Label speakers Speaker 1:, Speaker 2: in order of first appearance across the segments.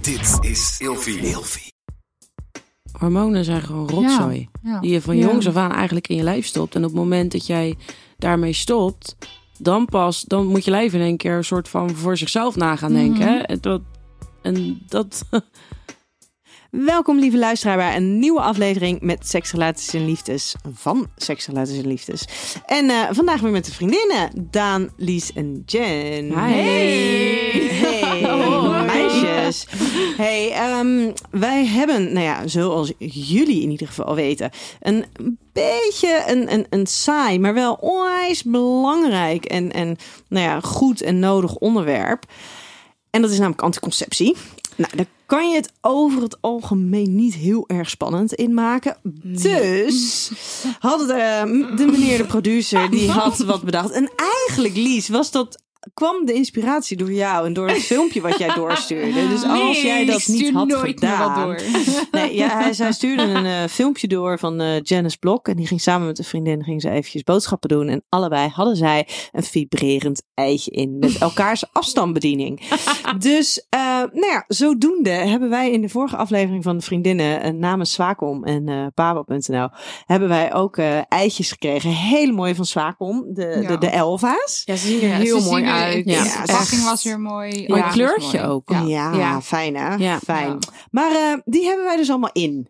Speaker 1: Dit is Ilfie.
Speaker 2: Hormonen zijn gewoon rotzooi.
Speaker 3: Ja.
Speaker 2: Die je van
Speaker 3: Ja.
Speaker 2: jongs af aan eigenlijk in je lijf stopt. En op het moment dat jij daarmee stopt, dan pas, dan moet je lijf in één keer een soort van voor zichzelf na gaan denken.
Speaker 3: Mhm.
Speaker 2: hè. En dat, en dat
Speaker 4: Welkom lieve luisteraar bij een nieuwe aflevering met Seksrelaties en Liefdes van Seksrelaties en Liefdes. En eh, vandaag weer met de vriendinnen Daan, Lies en Jen.
Speaker 2: Hi. Hey.
Speaker 4: Hey,
Speaker 2: Hoi.
Speaker 4: meisjes. Hey, ehm, wij hebben, nou ja, zoals jullie in ieder geval weten, een beetje een, een, een saai, maar wel onwijs belangrijk en, en nou ja, goed en nodig onderwerp. En dat is namelijk anticonceptie. Nou, daar kan je het over het algemeen niet heel erg spannend in maken. Dus had het, eh, de meneer de producer, die had wat bedacht. En eigenlijk, Lies, was dat, kwam de inspiratie door jou en door het filmpje wat jij doorstuurde. Dus als jij
Speaker 3: Nee,
Speaker 4: dat
Speaker 3: ik
Speaker 4: niet
Speaker 3: stuur
Speaker 4: had
Speaker 3: nooit meer wat
Speaker 4: gedaan...
Speaker 3: door.
Speaker 4: Nee, ja, hij, zij stuurde een eh, filmpje door van eh, Janice Blok. En die ging samen met een vriendin ging ze eventjes boodschappen doen. En allebei hadden zij een vibrerend eitje in. Met elkaars afstandsbediening. Dus eh, nou ja, zodoende hebben wij in de vorige aflevering van Vriendinnen eh, namens Swacom en eh Babo.nl hebben wij ook eh, eitjes gekregen. Hele mooi van Swacom, de,
Speaker 3: Ja.
Speaker 4: de, de Elva's.
Speaker 2: ja, ze zien
Speaker 3: Ja, ze zien er- Ja,
Speaker 4: Ja,
Speaker 2: Ja,
Speaker 3: de verpakking
Speaker 4: echt.
Speaker 3: was weer mooi.
Speaker 2: Mooi
Speaker 3: Ja,
Speaker 2: kleurtje
Speaker 3: was mooi.
Speaker 2: ook.
Speaker 3: Ja.
Speaker 4: Ja,
Speaker 2: Ja.
Speaker 4: fijn hè?
Speaker 2: Ja.
Speaker 4: Fijn.
Speaker 3: Ja.
Speaker 4: Maar eh, die hebben wij dus allemaal in.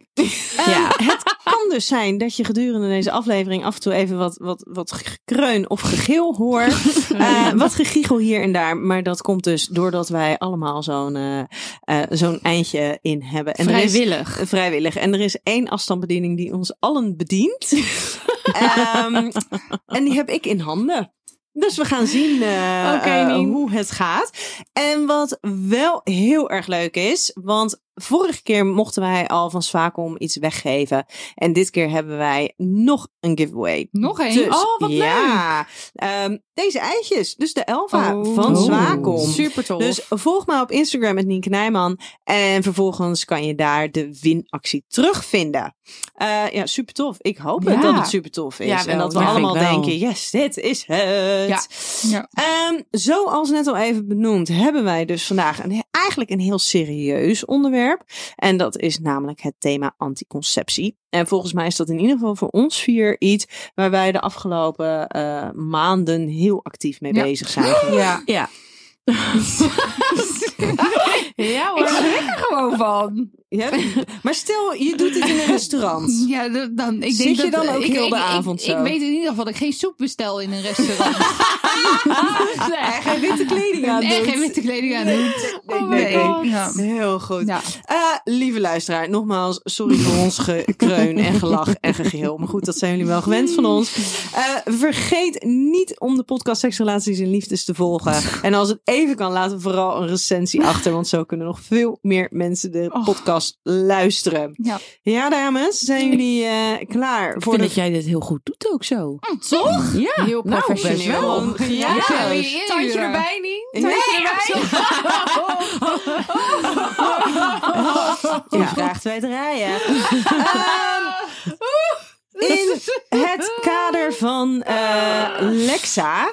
Speaker 2: Ja.
Speaker 4: Het kan dus zijn dat je gedurende deze aflevering af en toe even wat, wat, wat gekreun of gegil hoort. Eh, wat gegiegel hier en daar. Maar dat komt dus doordat wij allemaal zo'n eh, eh, zo'n eindje in hebben. En er is-
Speaker 2: vrijwillig.
Speaker 4: vrijwillig. En er is één afstandsbediening die ons allen bedient. Ehm, en die heb ik in handen. Dus we gaan zien eh,
Speaker 2: Oké,
Speaker 4: eh,
Speaker 2: Nien.
Speaker 4: hoe het gaat. En wat wel heel erg leuk is, want vorige keer mochten wij al van Swacom iets weggeven. En dit keer hebben wij nog een giveaway.
Speaker 3: Nog één?
Speaker 4: Dus,
Speaker 3: Oh, wat
Speaker 4: ja, ehm, deze eitjes, dus de Elva van
Speaker 2: Oh.
Speaker 4: Swacom.
Speaker 3: Super tof.
Speaker 4: Dus volg mij op Instagram met Nienke Nijman. En vervolgens kan je daar de winactie terugvinden. Eh, ja, super tof. Ik hoop het
Speaker 3: Ja.
Speaker 4: dat het super tof is.
Speaker 3: Ja, wel,
Speaker 4: en dat we
Speaker 3: ja.
Speaker 4: allemaal
Speaker 2: Vind ik wel.
Speaker 4: denken, yes, dit is het.
Speaker 3: Ja. Ja.
Speaker 4: Ehm, zoals net al even benoemd, hebben wij dus vandaag een, eigenlijk een heel serieus onderwerp. En dat is namelijk het thema anticonceptie. En volgens mij is dat in ieder geval voor ons vier iets waar wij de afgelopen eh, maanden heel actief mee
Speaker 3: Ja.
Speaker 4: bezig zijn. geweest.
Speaker 3: ja.
Speaker 2: Ja.
Speaker 3: ja hoor. Ik schrik er gewoon van.
Speaker 4: Ja, maar stel, je doet dit in een restaurant.
Speaker 3: Ja, d- dan, ik denk
Speaker 4: Zit je
Speaker 3: dat,
Speaker 4: dan ook
Speaker 3: ik,
Speaker 4: heel de
Speaker 3: ik- ik-
Speaker 4: avond
Speaker 3: ik,
Speaker 4: zo?
Speaker 3: weet in ieder geval dat ik geen soep bestel in een restaurant.
Speaker 4: En geen witte kleding aan
Speaker 3: en
Speaker 4: doet.
Speaker 3: geen witte kleding aan doet.
Speaker 4: dus- Nee,
Speaker 3: Oh
Speaker 4: nee,
Speaker 3: my
Speaker 4: nee.
Speaker 3: God. Ja.
Speaker 4: Heel goed.
Speaker 3: Ja.
Speaker 4: Eh, lieve luisteraar, nogmaals, sorry voor ons gekreun en gelach en gegeel. Maar goed, dat zijn jullie wel gewend van ons. Eh, vergeet niet om de podcast Seksrelaties en Liefdes te volgen. En als het even kan, laten we vooral een recensie achter. Want zo kunnen nog veel meer mensen de
Speaker 3: Oh.
Speaker 4: podcast luisteren.
Speaker 3: Ja.
Speaker 4: Ja, dames, zijn jullie eh, klaar
Speaker 2: Ik
Speaker 4: voor
Speaker 2: vind
Speaker 4: de
Speaker 2: dat jij dit heel goed doet ook zo.
Speaker 3: Toch?
Speaker 2: Ja,
Speaker 3: Heel
Speaker 2: nou,
Speaker 3: professioneel.
Speaker 2: best wel.
Speaker 4: Gewoon
Speaker 3: Ja,
Speaker 4: gejuicht.
Speaker 3: wil je inhuren?
Speaker 5: Tandje erbij niet?
Speaker 4: Nee, Ja. Vraag twee draaien. in het kader van eh, Lexa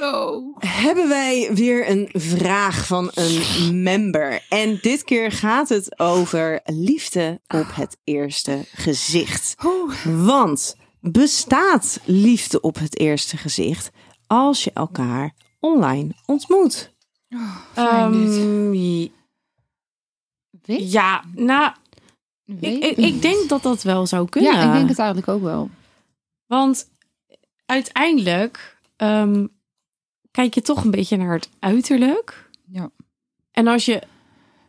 Speaker 3: Oh.
Speaker 4: hebben wij weer een vraag van een member. En dit keer gaat het over liefde op het eerste gezicht. Want bestaat liefde op het eerste gezicht als je elkaar online ontmoet?
Speaker 3: Fijn dit.
Speaker 2: Ehm,
Speaker 3: Weet-
Speaker 2: ja, nou, ik,
Speaker 3: weet
Speaker 2: ik,
Speaker 3: niet.
Speaker 2: ik denk dat dat wel zou kunnen.
Speaker 3: Ja, ik denk het eigenlijk ook wel.
Speaker 2: Want uiteindelijk ehm, kijk je toch een beetje naar het uiterlijk.
Speaker 3: Ja.
Speaker 2: En als je
Speaker 3: Je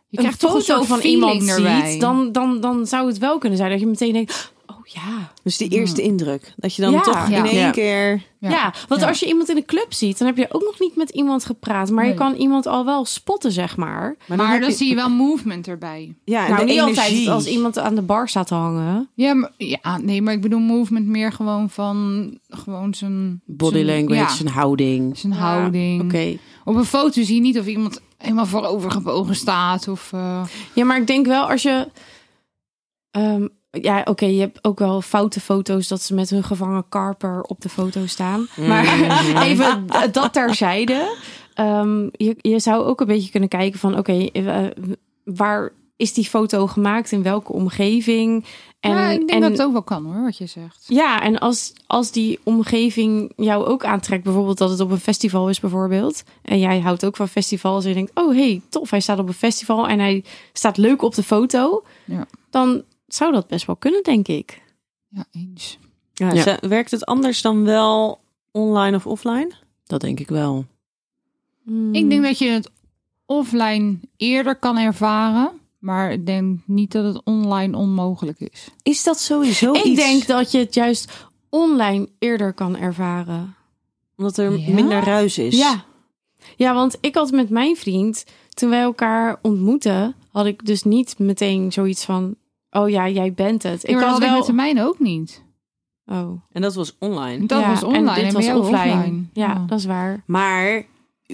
Speaker 2: een
Speaker 3: krijgt toch een
Speaker 2: foto
Speaker 3: soort
Speaker 2: van
Speaker 3: feeling
Speaker 2: iemand
Speaker 3: erbij.
Speaker 2: ziet, dan, dan, dan zou het wel kunnen zijn dat je meteen denkt... Oh ja.
Speaker 4: Dus die eerste indruk. Dat je dan
Speaker 2: Hmm. Ja.
Speaker 4: toch in
Speaker 3: Ja.
Speaker 4: één
Speaker 2: Ja.
Speaker 4: keer...
Speaker 2: Ja,
Speaker 3: Ja.
Speaker 2: want
Speaker 3: Ja.
Speaker 2: als je iemand in een club ziet, dan heb je ook nog niet met iemand gepraat. Maar je
Speaker 3: Nee.
Speaker 2: kan iemand al wel spotten, zeg maar.
Speaker 4: Maar
Speaker 3: Maar
Speaker 4: heb
Speaker 3: dan
Speaker 4: je-
Speaker 3: zie je wel movement erbij.
Speaker 4: Ja, en
Speaker 2: nou,
Speaker 4: de
Speaker 2: niet
Speaker 4: energie.
Speaker 2: altijd als iemand aan de bar staat te hangen.
Speaker 3: Ja, maar, ja, nee, maar ik bedoel movement meer gewoon van gewoon zijn
Speaker 2: Body
Speaker 3: zijn-
Speaker 2: language,
Speaker 3: ja,
Speaker 2: zijn houding.
Speaker 3: zijn houding.
Speaker 2: Oké.
Speaker 3: Op een foto zie je niet of iemand helemaal voorovergebogen staat of eh,
Speaker 2: Ja, maar ik denk wel als je. ehm, ja, oké, je hebt ook wel foute foto's dat ze met hun gevangen karper op de foto staan. Maar even dat terzijde. Ehm, je, je zou ook een beetje kunnen kijken van, oké, eh,
Speaker 1: waar is die foto gemaakt, in welke omgeving. En,
Speaker 3: ja, ik denk
Speaker 1: en,
Speaker 3: dat het ook wel kan hoor, wat je zegt.
Speaker 1: ja, en als, als die omgeving jou ook aantrekt, bijvoorbeeld dat het op een festival is bijvoorbeeld. En jij houdt ook van festivals en je denkt, oh hey, tof, hij staat op een festival en hij staat leuk op de foto.
Speaker 3: Ja.
Speaker 1: Dan zou dat best wel kunnen, denk ik.
Speaker 3: Ja, eens.
Speaker 4: Ja,
Speaker 2: Ja.
Speaker 4: ze- Werkt het anders dan wel online of offline?
Speaker 2: Dat denk ik wel.
Speaker 3: Ik denk dat je het offline eerder kan ervaren. Maar ik denk niet dat het online onmogelijk is.
Speaker 4: Is dat sowieso
Speaker 1: Ik
Speaker 4: iets?
Speaker 1: denk dat je het juist online eerder kan ervaren.
Speaker 4: Omdat er
Speaker 3: Ja?
Speaker 4: minder ruis is.
Speaker 1: Ja. Ja, want ik had met mijn vriend, toen wij elkaar ontmoetten, had ik dus niet meteen zoiets van, oh ja, jij bent het.
Speaker 3: Ik
Speaker 1: ik
Speaker 3: maar
Speaker 1: had
Speaker 3: dat
Speaker 1: wel...
Speaker 3: had ik met mijn ook niet.
Speaker 1: Oh,
Speaker 4: En dat was online.
Speaker 3: Dat
Speaker 1: ja,
Speaker 3: was online en,
Speaker 1: En dit
Speaker 3: bij
Speaker 1: was
Speaker 3: jou
Speaker 1: offline. Ja,
Speaker 3: Ja.
Speaker 1: dat is waar.
Speaker 4: Maar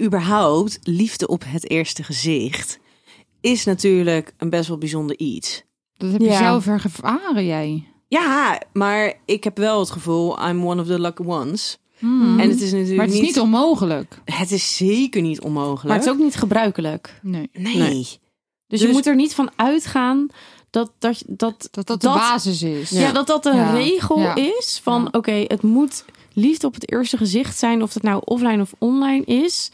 Speaker 4: überhaupt, liefde op het eerste gezicht is natuurlijk een best wel bijzonder iets.
Speaker 3: Dat heb je
Speaker 1: Ja.
Speaker 3: zelf ervaren jij.
Speaker 4: Ja, maar ik heb wel het gevoel, I'm one of the lucky ones.
Speaker 3: Hmm.
Speaker 4: En het is natuurlijk
Speaker 3: maar het is niet onmogelijk.
Speaker 4: het is zeker niet onmogelijk.
Speaker 1: Maar het is ook niet gebruikelijk.
Speaker 3: Nee.
Speaker 4: Nee.
Speaker 1: Dus, je
Speaker 4: Dus-
Speaker 1: moet er niet van uitgaan dat dat, dat,
Speaker 3: Dat dat de
Speaker 1: Dat-
Speaker 3: basis is.
Speaker 1: ja. dat, dat een
Speaker 3: Ja.
Speaker 1: regel
Speaker 3: Ja.
Speaker 1: is van
Speaker 3: Ja.
Speaker 1: oké, het moet liefde op het eerste gezicht zijn, of dat nou offline of online is.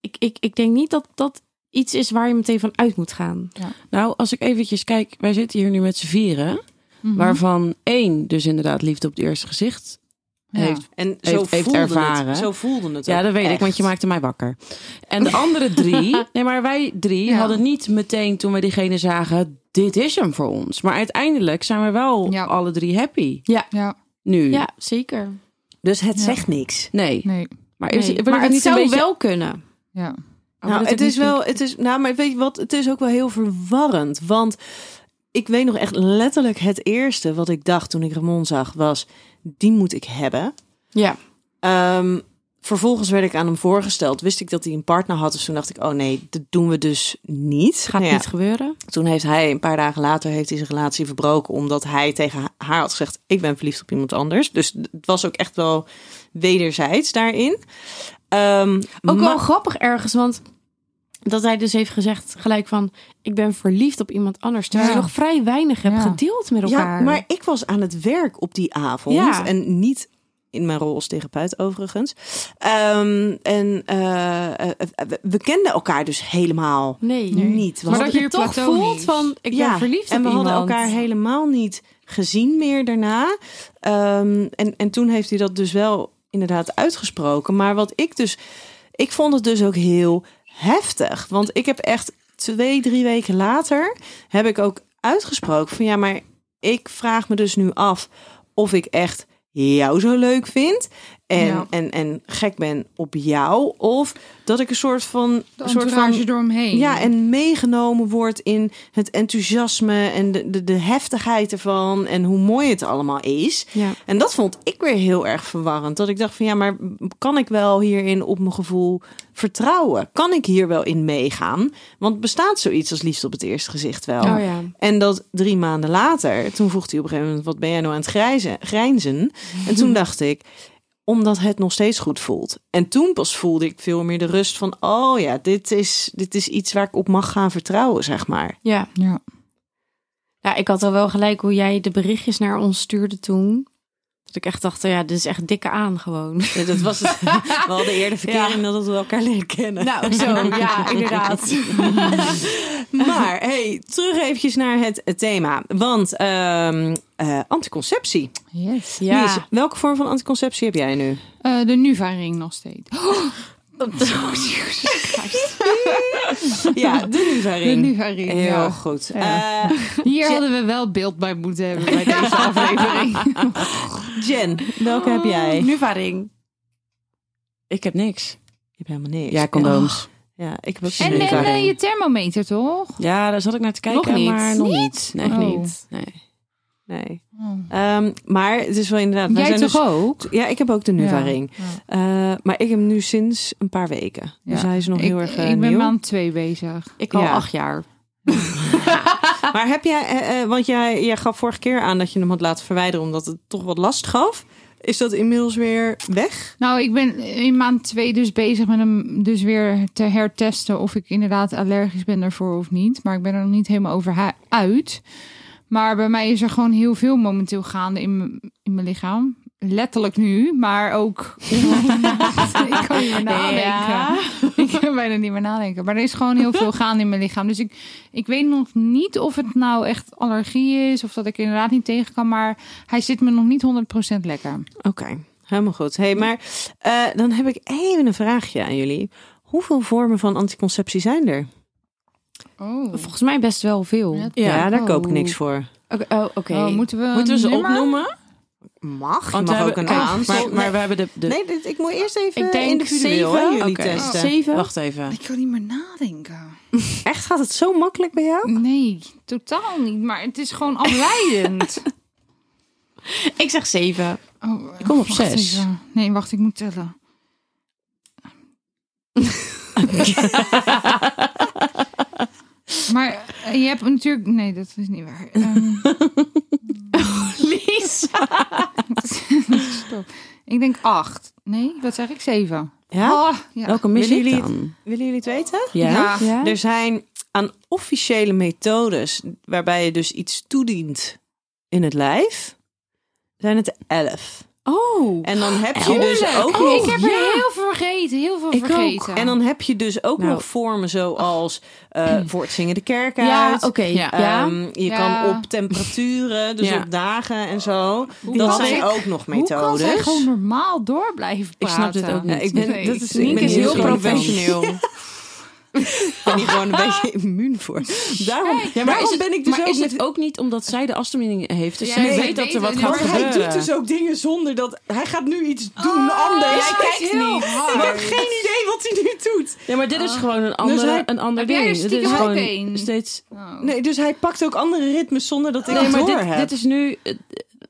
Speaker 1: Ik, ik, ik denk niet dat dat iets is waar je meteen van uit moet gaan.
Speaker 2: Nou, als ik eventjes kijk, wij zitten hier nu met z'n vieren.
Speaker 3: Mhm.
Speaker 2: Waarvan één dus inderdaad liefde op het eerste gezicht
Speaker 3: Ja.
Speaker 2: heeft.
Speaker 4: En zo
Speaker 2: Heeft- heeft
Speaker 4: voelde
Speaker 2: ervaren.
Speaker 4: het. Zo voelde het.
Speaker 2: Ja,
Speaker 4: ook
Speaker 2: dat weet ik,
Speaker 4: echt.
Speaker 2: want je maakte mij wakker. En de andere drie, nee, maar wij drie
Speaker 3: Ja.
Speaker 2: hadden niet meteen toen we diegene zagen, dit is hem voor ons. Maar uiteindelijk zijn we wel
Speaker 3: Ja.
Speaker 2: alle drie happy
Speaker 3: Ja,
Speaker 2: nu.
Speaker 1: Ja, zeker.
Speaker 4: Dus het
Speaker 3: Ja.
Speaker 4: zegt niks.
Speaker 2: Nee,
Speaker 3: nee.
Speaker 2: maar, is,
Speaker 1: Nee,
Speaker 2: wordt
Speaker 1: maar
Speaker 2: het
Speaker 1: het
Speaker 2: niet
Speaker 1: zou
Speaker 2: een beetje...
Speaker 1: wel kunnen.
Speaker 3: Ja.
Speaker 1: Oh,
Speaker 4: Nou, het is wel, het is, nou, maar weet je wat, het is ook wel heel verwarrend. Want ik weet nog echt letterlijk het eerste wat ik dacht toen ik Ramon zag was, die moet ik hebben.
Speaker 1: Ja.
Speaker 4: Ehm, vervolgens werd ik aan hem voorgesteld. Wist ik dat hij een partner had, dus toen dacht ik, oh nee, dat doen we dus niet.
Speaker 1: Gaat
Speaker 4: Nou ja,
Speaker 1: niet gebeuren.
Speaker 4: Toen heeft hij, een paar dagen later, heeft hij zijn relatie verbroken. Omdat hij tegen haar had gezegd, ik ben verliefd op iemand anders. Dus het was ook echt wel wederzijds daarin. Ehm,
Speaker 1: Ook
Speaker 4: maar-
Speaker 1: wel grappig ergens, want dat hij dus heeft gezegd gelijk van... ik ben verliefd op iemand anders. Terwijl
Speaker 3: Ja.
Speaker 1: je nog vrij weinig hebt
Speaker 3: Ja.
Speaker 1: gedeeld met elkaar.
Speaker 4: Ja, maar ik was aan het werk op die avond.
Speaker 1: Ja.
Speaker 4: En niet in mijn rol als therapeut overigens. Ehm, en eh, eh, we- we kenden elkaar dus helemaal
Speaker 1: Nee.
Speaker 4: niet. We
Speaker 3: Maar
Speaker 4: hadden-
Speaker 3: dat je
Speaker 1: je toch
Speaker 3: platonisch.
Speaker 1: voelt van, ik ben verliefd op
Speaker 4: en we hadden
Speaker 1: iemand.
Speaker 4: elkaar helemaal niet gezien meer daarna. Ehm, en, en toen heeft hij dat dus wel inderdaad uitgesproken. Maar wat ik dus... Ik vond het dus ook heel heftig. Want ik heb echt twee, drie weken later... heb ik ook uitgesproken van... ja, maar ik vraag me dus nu af of ik echt jou zo leuk vind... En,
Speaker 3: Ja.
Speaker 4: en, en gek ben op jou. Of dat ik een soort van.
Speaker 3: De
Speaker 4: een soort van
Speaker 3: entourage eromheen.
Speaker 4: ja, en meegenomen wordt in het enthousiasme en de, de, de heftigheid ervan en hoe mooi het allemaal is.
Speaker 1: Ja.
Speaker 4: En dat vond ik weer heel erg verwarrend. Dat ik dacht van ja, maar kan ik wel hierin op mijn gevoel vertrouwen? Kan ik hier wel in meegaan? Want bestaat zoiets als liefde op het eerste gezicht wel?
Speaker 1: Oh ja.
Speaker 4: En dat drie maanden later, toen vroeg hij op een gegeven moment: Wat ben jij nou aan het grijzen, grijnzen? En toen dacht ik, omdat het nog steeds goed voelt. En toen pas voelde ik veel meer de rust van: Oh ja, dit is, dit is iets waar ik op mag gaan vertrouwen, zeg maar.
Speaker 1: Ja.
Speaker 3: Ja.
Speaker 1: ja, ik had al wel gelijk hoe jij de berichtjes naar ons stuurde toen. Dat ik echt dacht, ja, dit is echt dikke aan gewoon.
Speaker 4: Dat was het. We hadden eerder verkering dan dat we elkaar leren kennen.
Speaker 1: Nou, zo, ja, inderdaad.
Speaker 4: Maar hey, terug eventjes naar het het thema. Want ehm, eh, anticonceptie.
Speaker 3: Yes.
Speaker 1: Ja.
Speaker 4: Lies, welke vorm van anticonceptie heb jij nu?
Speaker 3: Eh, de Nuva-ring nog steeds.
Speaker 4: Ja, de
Speaker 3: De
Speaker 4: Nuvaring.
Speaker 3: Nuva-ring,
Speaker 4: Heel
Speaker 3: ja.
Speaker 4: goed.
Speaker 3: Ja.
Speaker 4: Eh,
Speaker 3: Hier hadden we wel beeld bij moeten hebben bij deze aflevering.
Speaker 4: Jen, welke heb jij?
Speaker 1: Nu varing.
Speaker 2: Ik heb niks.
Speaker 4: Je hebt helemaal niks. Oh.
Speaker 2: Ja, condooms.
Speaker 4: Ja, ik heb ook
Speaker 3: En,
Speaker 4: geen
Speaker 3: en
Speaker 4: idee.
Speaker 3: eh, je thermometer, toch?
Speaker 2: Ja, daar zat ik naar te kijken,
Speaker 1: Nog niet.
Speaker 2: maar nog niet. Nee,
Speaker 3: Oh.
Speaker 2: niet. Nee.
Speaker 4: Nee. Ehm, maar het is wel inderdaad... wij
Speaker 3: Jij
Speaker 4: zijn
Speaker 3: toch
Speaker 4: dus-
Speaker 3: ook?
Speaker 4: Ja, ik heb ook de Nuva-ring.
Speaker 3: Ja.
Speaker 4: Eh, maar ik heb hem nu sinds een paar weken.
Speaker 3: Ja.
Speaker 4: Dus hij is nog
Speaker 3: ik,
Speaker 4: heel erg eh,
Speaker 3: Ik ben
Speaker 4: nieuw.
Speaker 3: maand twee bezig.
Speaker 1: Ik al
Speaker 4: Ja.
Speaker 1: acht jaar.
Speaker 4: Maar heb jij... eh, eh, want jij, jij gaf vorige keer aan dat je hem had laten verwijderen... omdat het toch wat last gaf. Is dat inmiddels weer weg?
Speaker 3: Nou, ik ben in maand twee dus bezig met hem dus weer te hertesten of ik inderdaad allergisch ben daarvoor of niet. Maar ik ben er nog niet helemaal over hu- uit. Maar bij mij is er gewoon heel veel momenteel gaande in, m- in mijn lichaam. Letterlijk nu, maar ook. ik kan niet meer nadenken. Ik kan bijna niet meer nadenken. Maar er is gewoon heel veel gaande in mijn lichaam. Dus ik, ik weet nog niet of het nou echt allergie is. Of dat ik er inderdaad niet tegen kan. Maar hij zit me nog niet 100% lekker.
Speaker 4: Oké, helemaal goed. Hey, maar eh, dan heb ik even een vraagje aan jullie. Hoeveel vormen van anticonceptie zijn er?
Speaker 3: Oh.
Speaker 1: Volgens mij best wel veel.
Speaker 3: Ja,
Speaker 4: Ja, daar koop ik
Speaker 1: Oh.
Speaker 4: niks voor.
Speaker 1: Oké, oh, oké.
Speaker 3: Oh, moeten we
Speaker 2: Moeten we ze
Speaker 3: een nummer?
Speaker 2: opnoemen?
Speaker 4: Mag, je
Speaker 2: Want we
Speaker 4: mag ook
Speaker 2: hebben-
Speaker 4: een
Speaker 2: kijk,
Speaker 4: aantal.
Speaker 2: Maar, maar we hebben de... de
Speaker 4: Nee, dit, ik moet eerst even
Speaker 1: Ik denk
Speaker 4: individueel
Speaker 1: zeven.
Speaker 4: hè, jullie
Speaker 2: Oké.
Speaker 4: testen.
Speaker 1: Zeven?
Speaker 2: Wacht even.
Speaker 3: Ik kan niet meer nadenken.
Speaker 4: Echt, gaat het zo makkelijk bij jou?
Speaker 3: Nee, totaal niet. Maar het is gewoon afleidend.
Speaker 1: Ik zeg zeven.
Speaker 3: Oh,
Speaker 2: Ik kom op
Speaker 3: wacht
Speaker 2: zes.
Speaker 3: even. Nee, wacht, ik moet tellen. maar eh, je hebt natuurlijk... Nee, dat is niet waar. Ehm,
Speaker 1: Lies.
Speaker 3: stop. Ik denk acht. Nee, wat zeg ik? Zeven.
Speaker 4: Ja?
Speaker 3: Ah, ja.
Speaker 2: Welke mis
Speaker 4: Willen
Speaker 2: ik
Speaker 4: jullie
Speaker 2: dan?
Speaker 4: Willen jullie het weten?
Speaker 2: Ja?
Speaker 3: Ja.
Speaker 1: Ja?
Speaker 4: Er zijn aan officiële methodes waarbij je dus iets toedient in het lijf, zijn het elf.
Speaker 1: Oh.
Speaker 4: En dan heb je dus
Speaker 3: Tuurlijk. oh,
Speaker 4: ook nog...
Speaker 3: ik heb er heel veel vergeten. Heel veel
Speaker 1: Ik ook.
Speaker 3: vergeten.
Speaker 4: En dan heb je dus ook
Speaker 1: Nou.
Speaker 4: nog vormen zoals eh, voor het zingen de kerk uit.
Speaker 1: Ja, oké. Ja.
Speaker 2: Ja.
Speaker 4: Ehm, je
Speaker 3: Ja.
Speaker 4: kan op temperaturen, dus
Speaker 2: Ja.
Speaker 4: op dagen en zo.
Speaker 3: Hoe
Speaker 4: dat
Speaker 3: kan
Speaker 4: zijn
Speaker 3: ik-
Speaker 4: ook nog
Speaker 3: Hoe kan zij
Speaker 4: methodes.
Speaker 3: gewoon normaal door blijven
Speaker 2: Ik
Speaker 3: praten?
Speaker 2: snap dit ook niet.
Speaker 4: Ja, ik ben,
Speaker 3: Nee,
Speaker 4: dat is,
Speaker 2: Nienke
Speaker 4: ik ben
Speaker 2: is
Speaker 4: hier
Speaker 2: heel
Speaker 4: gewoon een beetje-
Speaker 2: professioneel.
Speaker 4: Ik ben hier gewoon een beetje immuun voor. Daarom,
Speaker 2: Ja, maar
Speaker 4: daarom
Speaker 2: is het,
Speaker 4: ben ik dus
Speaker 2: maar
Speaker 4: ook
Speaker 2: is
Speaker 4: met
Speaker 2: het ook niet omdat zij de afstemming heeft? Dus
Speaker 3: Ja,
Speaker 2: zij
Speaker 3: nee,
Speaker 2: weet dat er wat
Speaker 3: nee,
Speaker 2: gaat
Speaker 4: Maar
Speaker 3: nee,
Speaker 2: gebeuren.
Speaker 4: hij doet dus ook dingen zonder dat... Hij gaat nu iets doen anders.
Speaker 3: Oh, Ah, jij kijkt heel hard.
Speaker 4: Ik heb geen idee wat hij nu doet.
Speaker 2: Ja, maar dit is gewoon een, andere,
Speaker 4: hij-
Speaker 2: een ander
Speaker 3: Heb jij er
Speaker 2: ding. Dit is
Speaker 3: stiekem
Speaker 2: gewoon
Speaker 3: ook een?
Speaker 2: steeds...
Speaker 3: Oh.
Speaker 4: Nee, dus hij pakt ook andere ritmes zonder dat ik
Speaker 2: Nee,
Speaker 4: het
Speaker 2: maar
Speaker 4: door
Speaker 2: dit,
Speaker 4: heb.
Speaker 2: dit is nu... eh,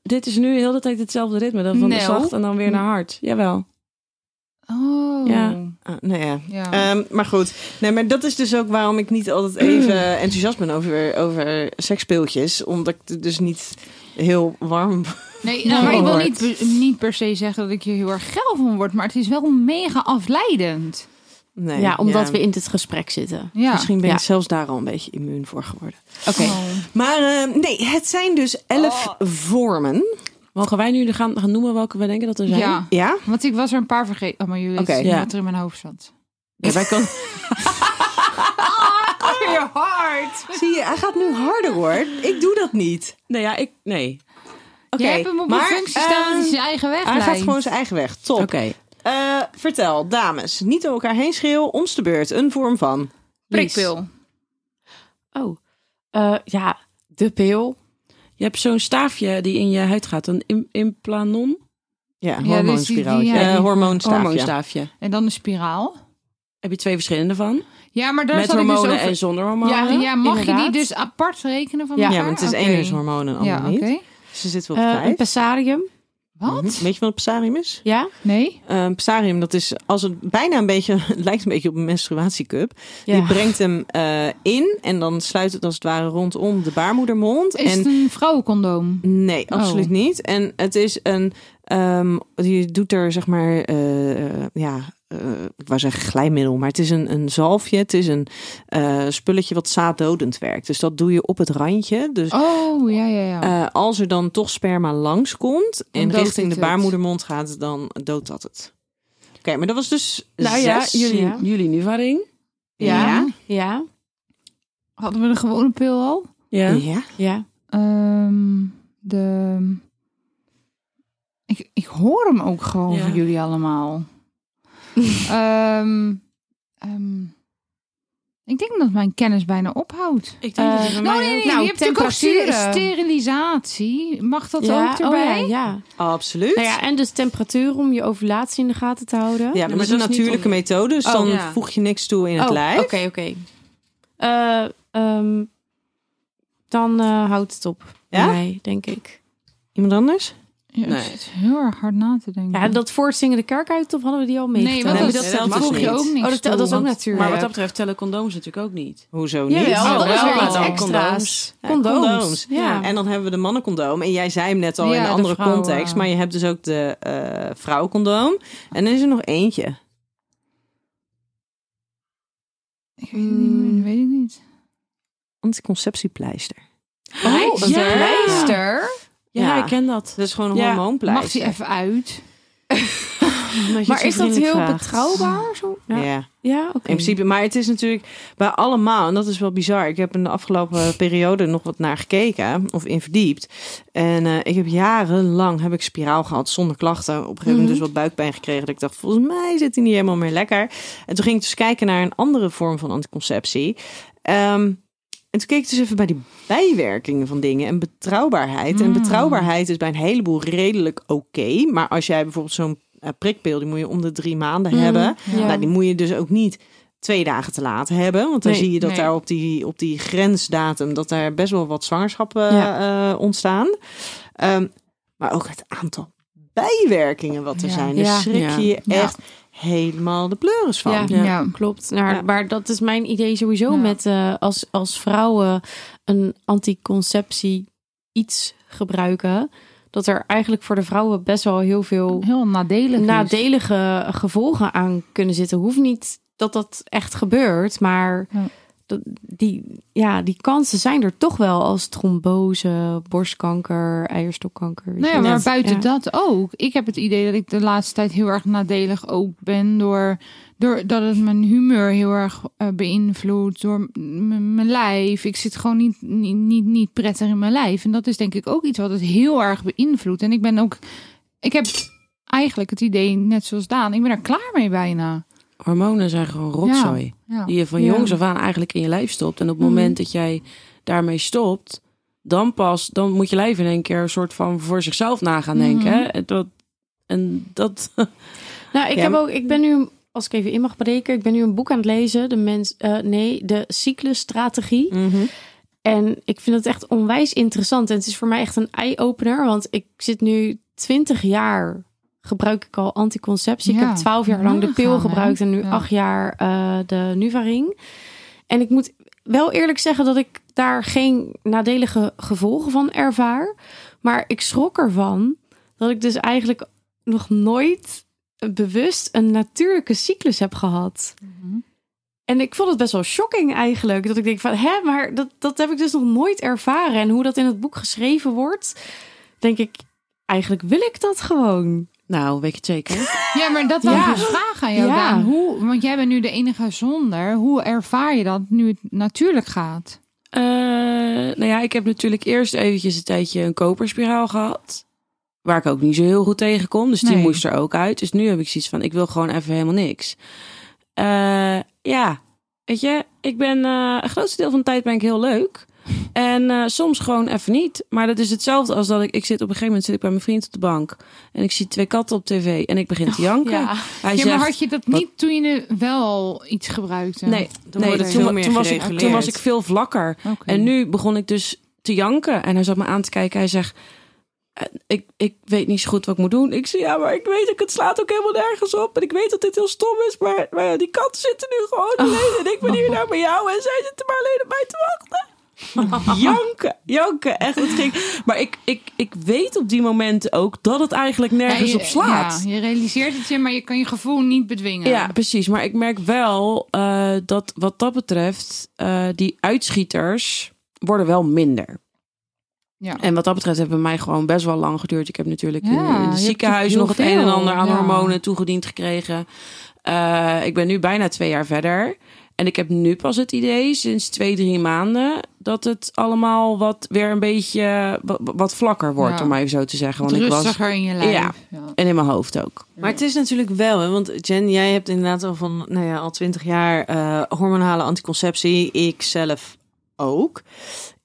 Speaker 2: Dit is nu heel de tijd hetzelfde ritme. Dan van
Speaker 3: Nee.
Speaker 2: zacht en dan weer naar hard. Jawel.
Speaker 3: Oh.
Speaker 2: Ja.
Speaker 4: Ah, nou ja.
Speaker 3: Ja.
Speaker 4: Ehm, maar goed, nee, maar dat is dus ook waarom ik niet altijd even enthousiast ben over, over seksspeeltjes. Omdat ik er dus niet heel warm...
Speaker 3: nee, nou, maar ik wil
Speaker 4: Howard.
Speaker 3: niet, per- niet per se zeggen dat ik hier heel erg geil van word, maar het is wel mega afleidend.
Speaker 4: Nee,
Speaker 1: Ja, omdat we in dit gesprek zitten.
Speaker 3: Ja.
Speaker 4: Misschien ben
Speaker 1: Ja.
Speaker 4: ik zelfs daar al een beetje immuun voor geworden.
Speaker 1: Oké.
Speaker 3: Oh.
Speaker 4: Maar ehm, nee, het zijn dus elf vormen.
Speaker 2: Mogen wij nu gaan, gaan noemen welke we denken dat er zijn?
Speaker 3: Ja.
Speaker 4: Ja?
Speaker 3: Want ik was er een paar vergeten. Oh, maar jullie
Speaker 4: Oké.
Speaker 3: weten
Speaker 2: Ja.
Speaker 3: wat er in mijn hoofd zat.
Speaker 2: Ja, wij kan...
Speaker 3: Weer hard.
Speaker 4: Zie je, hij gaat nu harder hoor. Ik doe dat niet.
Speaker 2: Nee, ja, ik... Nee.
Speaker 4: Oké,
Speaker 3: Je hebt hem op een
Speaker 4: maar,
Speaker 3: functie staan,
Speaker 4: ehm,
Speaker 3: dat is je eigen weg.
Speaker 4: Hij gaat
Speaker 3: Lijn.
Speaker 4: gewoon zijn eigen weg. Top.
Speaker 2: Oké.
Speaker 4: Eh, vertel, dames. Niet door elkaar heen schreeuwen. Ons de beurt. Een vorm van.
Speaker 3: prikpil.
Speaker 1: Oh. Eh, ja, de pil.
Speaker 2: Je hebt zo'n staafje die in je huid gaat. Een im- implanon?
Speaker 4: Ja,
Speaker 3: die-
Speaker 4: hormoonspiraaltje.
Speaker 3: die- ja,
Speaker 4: Eh,
Speaker 3: die-
Speaker 4: hormoonstaafje.
Speaker 2: Hormoonstaafje.
Speaker 3: En dan de spiraal.
Speaker 2: Heb je twee verschillende van?
Speaker 3: Ja, maar daar
Speaker 2: Met
Speaker 3: zat ik
Speaker 2: hormonen
Speaker 3: dus over.
Speaker 2: en zonder hormonen.
Speaker 3: ja, ja, mag je
Speaker 1: inderdaad.
Speaker 3: die dus apart rekenen van
Speaker 1: Ja.
Speaker 4: Ja,
Speaker 3: elkaar?
Speaker 4: want het is
Speaker 3: Ah, Oké.
Speaker 4: één is hormoon en ander
Speaker 3: Ja, oké.
Speaker 4: niet. Ze zitten wel op
Speaker 1: Eh, een
Speaker 4: vijf.
Speaker 1: pessarium.
Speaker 3: Wat?
Speaker 4: Mhm. Weet je wat een pessarium is?
Speaker 1: Ja?
Speaker 3: Nee?
Speaker 4: Eh, Een pessarium, dat is als het bijna een beetje, het lijkt een beetje op een menstruatiecup.
Speaker 1: Ja.
Speaker 4: Die brengt hem eh, in en dan sluit het als het ware rondom de baarmoedermond.
Speaker 3: Is
Speaker 4: en
Speaker 3: het een vrouwencondoom?
Speaker 4: Nee,
Speaker 3: Oh.
Speaker 4: absoluut niet. En het is een. ehm, je doet er zeg maar. eh, ja, eh, ik wou zeggen glijmiddel. Maar het is een, een zalfje. Het is een eh, spulletje wat zaaddodend werkt. Dus dat doe je op het randje. Dus
Speaker 3: Oh, ja, ja, ja.
Speaker 4: eh, als er dan toch sperma langskomt.
Speaker 3: Dan
Speaker 4: en
Speaker 3: doodt
Speaker 4: richting
Speaker 3: het
Speaker 4: de
Speaker 3: het.
Speaker 4: baarmoedermond gaat. dan doodt dat het. Oké, maar dat was dus.
Speaker 2: Nou ja,
Speaker 4: zes.
Speaker 2: jullie,
Speaker 1: ja.
Speaker 2: jullie Nuvaring.
Speaker 4: Ja.
Speaker 1: Ja.
Speaker 3: Hadden we de gewone pil al?
Speaker 2: Ja.
Speaker 4: Ja.
Speaker 1: Ja.
Speaker 3: Ehm, de... Ik, ik hoor hem ook gewoon
Speaker 2: Ja.
Speaker 3: van jullie allemaal. Ehm, ehm, ik denk dat mijn kennis bijna ophoudt.
Speaker 2: Ik
Speaker 1: Eh,
Speaker 2: dat het bij
Speaker 3: Nou,
Speaker 2: mij
Speaker 3: nee,
Speaker 2: ook-
Speaker 3: nee, je hebt natuurlijk ook
Speaker 1: temperaturen.
Speaker 3: ste- sterilisatie. Mag dat
Speaker 1: ja.
Speaker 3: ook erbij?
Speaker 1: Oh, ja, ja.
Speaker 4: Absoluut.
Speaker 1: Nou ja, en dus temperatuur om je ovulatie in de gaten te houden.
Speaker 4: Ja, maar dat is een
Speaker 2: dat is niet
Speaker 4: natuurlijke
Speaker 2: om-
Speaker 4: methode. Dus
Speaker 1: Oh,
Speaker 4: dan
Speaker 2: ja.
Speaker 4: voeg je niks toe in het
Speaker 1: oh,
Speaker 4: lijf.
Speaker 1: Oké, oké. Eh, ehm, dan eh, houdt het op. bij
Speaker 4: Ja?
Speaker 1: mij, denk ik.
Speaker 4: Iemand anders?
Speaker 3: Ja,
Speaker 2: Nee.
Speaker 3: ik zit heel erg hard na te denken.
Speaker 4: Mhm.
Speaker 1: Ja, en dat voortzingen de kerk uit, of hadden we die al mee?
Speaker 3: nee, want
Speaker 4: Nee,
Speaker 3: dat,
Speaker 4: dat
Speaker 3: dat,
Speaker 4: telt
Speaker 3: voeg
Speaker 4: dus
Speaker 3: je
Speaker 4: niet.
Speaker 3: ook niks
Speaker 1: Oh, dat telt- dat is
Speaker 3: toe,
Speaker 1: ook
Speaker 3: want-
Speaker 1: natuurlijk.
Speaker 2: Maar wat dat betreft tellen condooms natuurlijk ook niet.
Speaker 4: Hoezo niet?
Speaker 1: Jawel, dat is
Speaker 2: Oh,
Speaker 1: weer iets
Speaker 2: wel.
Speaker 1: extra's.
Speaker 4: Ja,
Speaker 1: Condooms.
Speaker 4: condooms.
Speaker 1: Ja.
Speaker 4: En dan hebben we de mannencondoom. En jij zei hem net al
Speaker 3: Ja,
Speaker 4: in een
Speaker 3: de
Speaker 4: andere
Speaker 3: vrouwen.
Speaker 4: context. Maar je hebt dus ook de eh vrouwencondoom. En dan is er nog eentje.
Speaker 3: Ik weet het niet meer,
Speaker 1: Mm.
Speaker 3: weet ik niet.
Speaker 4: Anticonceptiepleister.
Speaker 1: Oh,
Speaker 2: ja.
Speaker 1: een pleister.
Speaker 2: Ja,
Speaker 4: Ja.
Speaker 2: ik ken dat.
Speaker 4: Dat is gewoon een
Speaker 2: Ja.
Speaker 4: hormoonpleister.
Speaker 3: Mag die even uit?
Speaker 1: Maar is dat heel betrouwbaar? Zo?
Speaker 4: Ja.
Speaker 1: Ja, ja oké.
Speaker 4: In principe, maar het is natuurlijk bij allemaal, en dat is wel bizar. Ik heb in de afgelopen periode nog wat naar gekeken of in verdiept. En eh, ik heb jarenlang heb ik spiraal gehad zonder klachten. Op een gegeven moment
Speaker 1: Mhm.
Speaker 4: dus wat buikpijn gekregen. Dat ik dacht, volgens mij zit hij niet helemaal meer lekker. En toen ging ik dus kijken naar een andere vorm van anticonceptie. Ehm, en toen keek ik dus even bij die bijwerkingen van dingen en betrouwbaarheid. En
Speaker 3: Mm.
Speaker 4: betrouwbaarheid is bij een heleboel redelijk oké. maar als jij bijvoorbeeld zo'n eh, prikpil, die moet je om de drie maanden
Speaker 1: Mhm.
Speaker 4: hebben.
Speaker 1: Ja.
Speaker 4: Nou, die moet je dus ook niet twee dagen te laat hebben. Want dan
Speaker 1: Nee,
Speaker 4: zie je dat
Speaker 3: nee.
Speaker 4: daar op die, op die grensdatum... dat daar best wel wat zwangerschappen eh, ontstaan. Ehm, maar ook het aantal bijwerkingen wat er
Speaker 3: Ja.
Speaker 4: zijn. Daar
Speaker 1: Ja.
Speaker 4: schrik je je
Speaker 3: Ja.
Speaker 4: echt helemaal de pleuris van.
Speaker 1: Ja.
Speaker 3: Ja.
Speaker 2: Ja.
Speaker 1: Klopt. Nou,
Speaker 4: Ja.
Speaker 1: Maar dat is mijn idee sowieso
Speaker 3: Ja.
Speaker 1: met eh, als, als vrouwen een anticonceptie iets gebruiken. Dat er eigenlijk voor de vrouwen best wel heel veel
Speaker 3: Heel nadelig. is.
Speaker 1: nadelige gevolgen aan kunnen zitten. Hoeft niet dat dat echt gebeurt, maar
Speaker 3: Ja.
Speaker 1: dat, die, ja, die kansen zijn er toch wel als trombose, borstkanker, eierstokkanker. weet
Speaker 3: Nou
Speaker 1: je.
Speaker 3: ja, maar
Speaker 1: Net.
Speaker 3: buiten
Speaker 1: Ja.
Speaker 3: dat ook. Ik heb het idee dat ik de laatste tijd heel erg nadelig ook ben. Door, door dat het mijn humeur heel erg eh, beïnvloedt. Door m- m- mijn lijf. Ik zit gewoon niet, niet, niet, niet prettig in mijn lijf. En dat is denk ik ook iets wat het heel erg beïnvloedt. En ik ben ook. Ik heb eigenlijk het idee, net zoals Daan, ik ben er klaar mee bijna.
Speaker 2: Hormonen zijn gewoon rotzooi.
Speaker 3: Ja.
Speaker 2: Die je van
Speaker 1: Ja.
Speaker 2: jongs af aan eigenlijk in je lijf stopt. En op het
Speaker 1: Mhm.
Speaker 2: moment dat jij daarmee stopt, dan pas, dan moet je lijf in één keer een soort van voor zichzelf na gaan denken.
Speaker 3: Mhm.
Speaker 2: hè. En dat, en dat
Speaker 1: Nou, ik,
Speaker 4: Ja,
Speaker 1: heb
Speaker 4: maar-
Speaker 1: ook, ik ben nu, als ik even in mag breken, ik ben nu een boek aan het lezen. De mens, eh, nee, de cyclusstrategie.
Speaker 4: Mhm.
Speaker 1: En ik vind het echt onwijs interessant. En het is voor mij echt een eye-opener. Want ik zit nu 20 jaar gebruik ik al anticonceptie. Ik
Speaker 3: Ja,
Speaker 1: heb 12 jaar lang de
Speaker 3: nagaan,
Speaker 1: pil
Speaker 3: hè?
Speaker 1: gebruikt en nu
Speaker 3: Ja.
Speaker 1: 8 jaar eh, de Nuvaring. En ik moet wel eerlijk zeggen dat ik daar geen nadelige gevolgen van ervaar. Maar ik schrok ervan dat ik dus eigenlijk nog nooit bewust een natuurlijke cyclus heb gehad.
Speaker 3: Mhm.
Speaker 1: En ik vond het best wel shocking eigenlijk. Dat ik denk van, hè, maar dat, dat heb ik dus nog nooit ervaren. En hoe dat in het boek geschreven wordt, denk ik, eigenlijk wil ik dat gewoon.
Speaker 2: Nou, weet je het zeker?
Speaker 3: Ja, maar dat was
Speaker 1: Ja.
Speaker 3: een vraag aan jou,
Speaker 1: Ja.
Speaker 3: Daan. Hoe, want jij bent nu de enige zonder. Hoe ervaar je dat nu het natuurlijk gaat?
Speaker 2: Eh, nou ja, ik heb natuurlijk eerst eventjes een tijdje een koperspiraal gehad. Waar ik ook niet zo heel goed tegen kon. Dus die
Speaker 3: Nee.
Speaker 2: moest er ook uit. Dus nu heb ik zoiets van, ik wil gewoon even helemaal niks. Eh, ja, weet je, ik ben eh, het grootste deel van de tijd ben ik heel leuk. En eh, soms gewoon even niet. Maar dat is hetzelfde als dat ik, ik zit op een gegeven moment zit ik bij mijn vriend op de bank. En ik zie twee katten op tv en ik begin
Speaker 4: Oh,
Speaker 2: te janken. Hij
Speaker 3: Ja, maar
Speaker 2: zegt,
Speaker 3: had je dat niet toen je er wel iets gebruikte?
Speaker 2: nee,
Speaker 4: Dan
Speaker 2: nee,
Speaker 4: wordt het
Speaker 2: toen,
Speaker 4: veel
Speaker 2: wa-
Speaker 4: meer
Speaker 2: toen was ik,
Speaker 4: gereguleerd.
Speaker 2: toen was ik veel vlakker.
Speaker 3: Oké.
Speaker 2: En nu begon ik dus te janken. En hij zat me aan te kijken. Hij zegt, eh, ik, ik weet niet zo goed wat ik moet doen. Ik zei, ja, maar ik weet, ik, het slaat ook helemaal nergens op. En ik weet dat dit heel stom is. Maar, maar ja, die katten zitten nu
Speaker 3: Oh.
Speaker 2: gewoon alleen. En ik ben hier naar bij jou. En zij zitten maar alleen op mij te wachten. janken, janken. Echt, het ging. Maar ik, ik, ik weet op die momenten ook dat het eigenlijk
Speaker 3: Ja,
Speaker 2: nergens
Speaker 3: je-
Speaker 2: op slaat.
Speaker 3: Ja, je realiseert het je, maar je kan je gevoel niet bedwingen.
Speaker 2: Ja, precies. Maar ik merk wel eh, dat wat dat betreft, eh, die uitschieters worden wel minder.
Speaker 3: Ja.
Speaker 2: En wat dat betreft hebben mij gewoon best wel lang geduurd. Ik heb natuurlijk
Speaker 3: Ja, je
Speaker 2: in, in
Speaker 3: hebt
Speaker 2: het ziekenhuis nog
Speaker 3: natuurlijk
Speaker 2: het
Speaker 3: heel
Speaker 2: een en ander aan
Speaker 3: veel, ja.
Speaker 2: hormonen toegediend gekregen. Eh, ik ben nu bijna twee jaar verder. En ik heb nu pas het idee, sinds twee, drie maanden, dat het allemaal wat weer een beetje wat, wat vlakker wordt,
Speaker 3: Ja.
Speaker 2: om maar even zo te zeggen.
Speaker 3: Want
Speaker 2: Want ik was.
Speaker 3: rustiger in je lijf.
Speaker 2: Ja.
Speaker 3: Ja.
Speaker 2: En in mijn hoofd ook.
Speaker 4: Maar het is natuurlijk wel, hè, want Jen, jij hebt inderdaad al van, nou ja, al twintig jaar eh, hormonale anticonceptie. Ik zelf ook.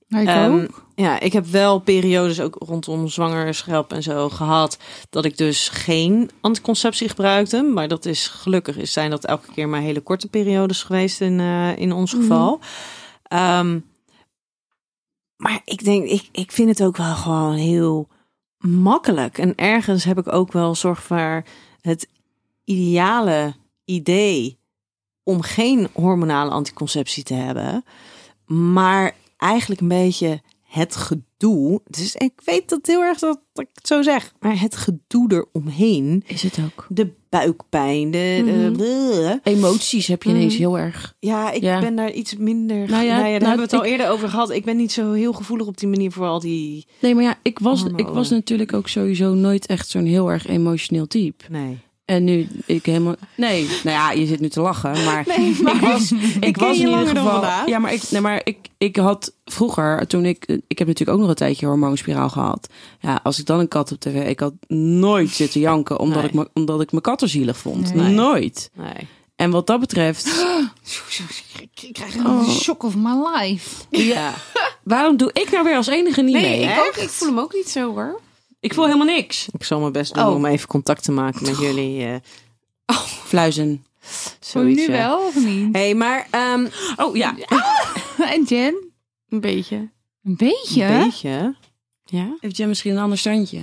Speaker 3: Maar ik
Speaker 4: Ehm,
Speaker 3: ook.
Speaker 4: Ja, ik heb wel periodes ook rondom zwangerschap en zo gehad dat ik dus geen anticonceptie gebruikte. Maar dat is gelukkig is zijn dat elke keer maar hele korte periodes geweest in, eh, in ons geval. Ehm, maar ik denk, ik, ik vind het ook wel gewoon heel makkelijk. En ergens heb ik ook wel zorg voor het ideale idee om geen hormonale anticonceptie te hebben. Maar eigenlijk een beetje het gedoe. Dus ik weet dat heel erg dat, dat ik het zo zeg. Maar het gedoe eromheen.
Speaker 2: Is het ook.
Speaker 4: De buikpijn. De, de-
Speaker 1: Mhm.
Speaker 4: bleh.
Speaker 2: Emoties heb je ineens
Speaker 1: Mhm.
Speaker 2: heel erg.
Speaker 4: Ja, ik
Speaker 2: Ja.
Speaker 4: ben daar iets minder. ge-
Speaker 2: Nou ja,
Speaker 4: daar
Speaker 2: nou,
Speaker 4: hebben we het al
Speaker 2: ik-
Speaker 4: eerder over gehad. Ik ben niet zo heel gevoelig op die manier voor al die.
Speaker 2: Nee, maar ja, ik was, ik
Speaker 4: Hormonen.
Speaker 2: was natuurlijk ook sowieso nooit echt zo'n heel erg emotioneel type.
Speaker 4: Nee.
Speaker 2: En nu ik helemaal. Nee, nou ja, je zit nu te lachen, maar.
Speaker 4: Nee,
Speaker 2: Ik was, ik
Speaker 4: ken
Speaker 2: was
Speaker 4: je
Speaker 2: in ieder
Speaker 4: langer dan
Speaker 2: geval.
Speaker 4: vandaag.
Speaker 2: Ja, maar ik, nee, maar ik, ik had vroeger, toen ik. Ik heb natuurlijk ook nog een tijdje hormoonspiraal gehad. Ja, als ik dan een kat op tv. Ik had nooit zitten janken omdat,
Speaker 4: Nee.
Speaker 2: ik, me- omdat ik mijn katten zielig vond.
Speaker 3: Nee.
Speaker 2: Nooit.
Speaker 4: Nee.
Speaker 2: En wat dat betreft.
Speaker 3: Ik, ik krijg een shock of my life.
Speaker 2: Ja. Waarom doe ik nou weer als enige niet
Speaker 1: Nee,
Speaker 2: mee?
Speaker 1: ik, ook, ik voel hem ook niet zo hoor.
Speaker 2: Ik voel helemaal niks.
Speaker 4: Ik zal mijn best doen
Speaker 1: Oh.
Speaker 4: om even contact te maken met jullie. eh
Speaker 2: Fluizen.
Speaker 4: zoiets,
Speaker 3: nu
Speaker 4: ja.
Speaker 3: wel of niet?
Speaker 4: Hé, hey, maar ehm,
Speaker 2: Oh ja.
Speaker 3: En Jen?
Speaker 1: Een beetje.
Speaker 3: Een beetje?
Speaker 4: een beetje.
Speaker 1: Ja.
Speaker 2: Heeft jij misschien een ander standje?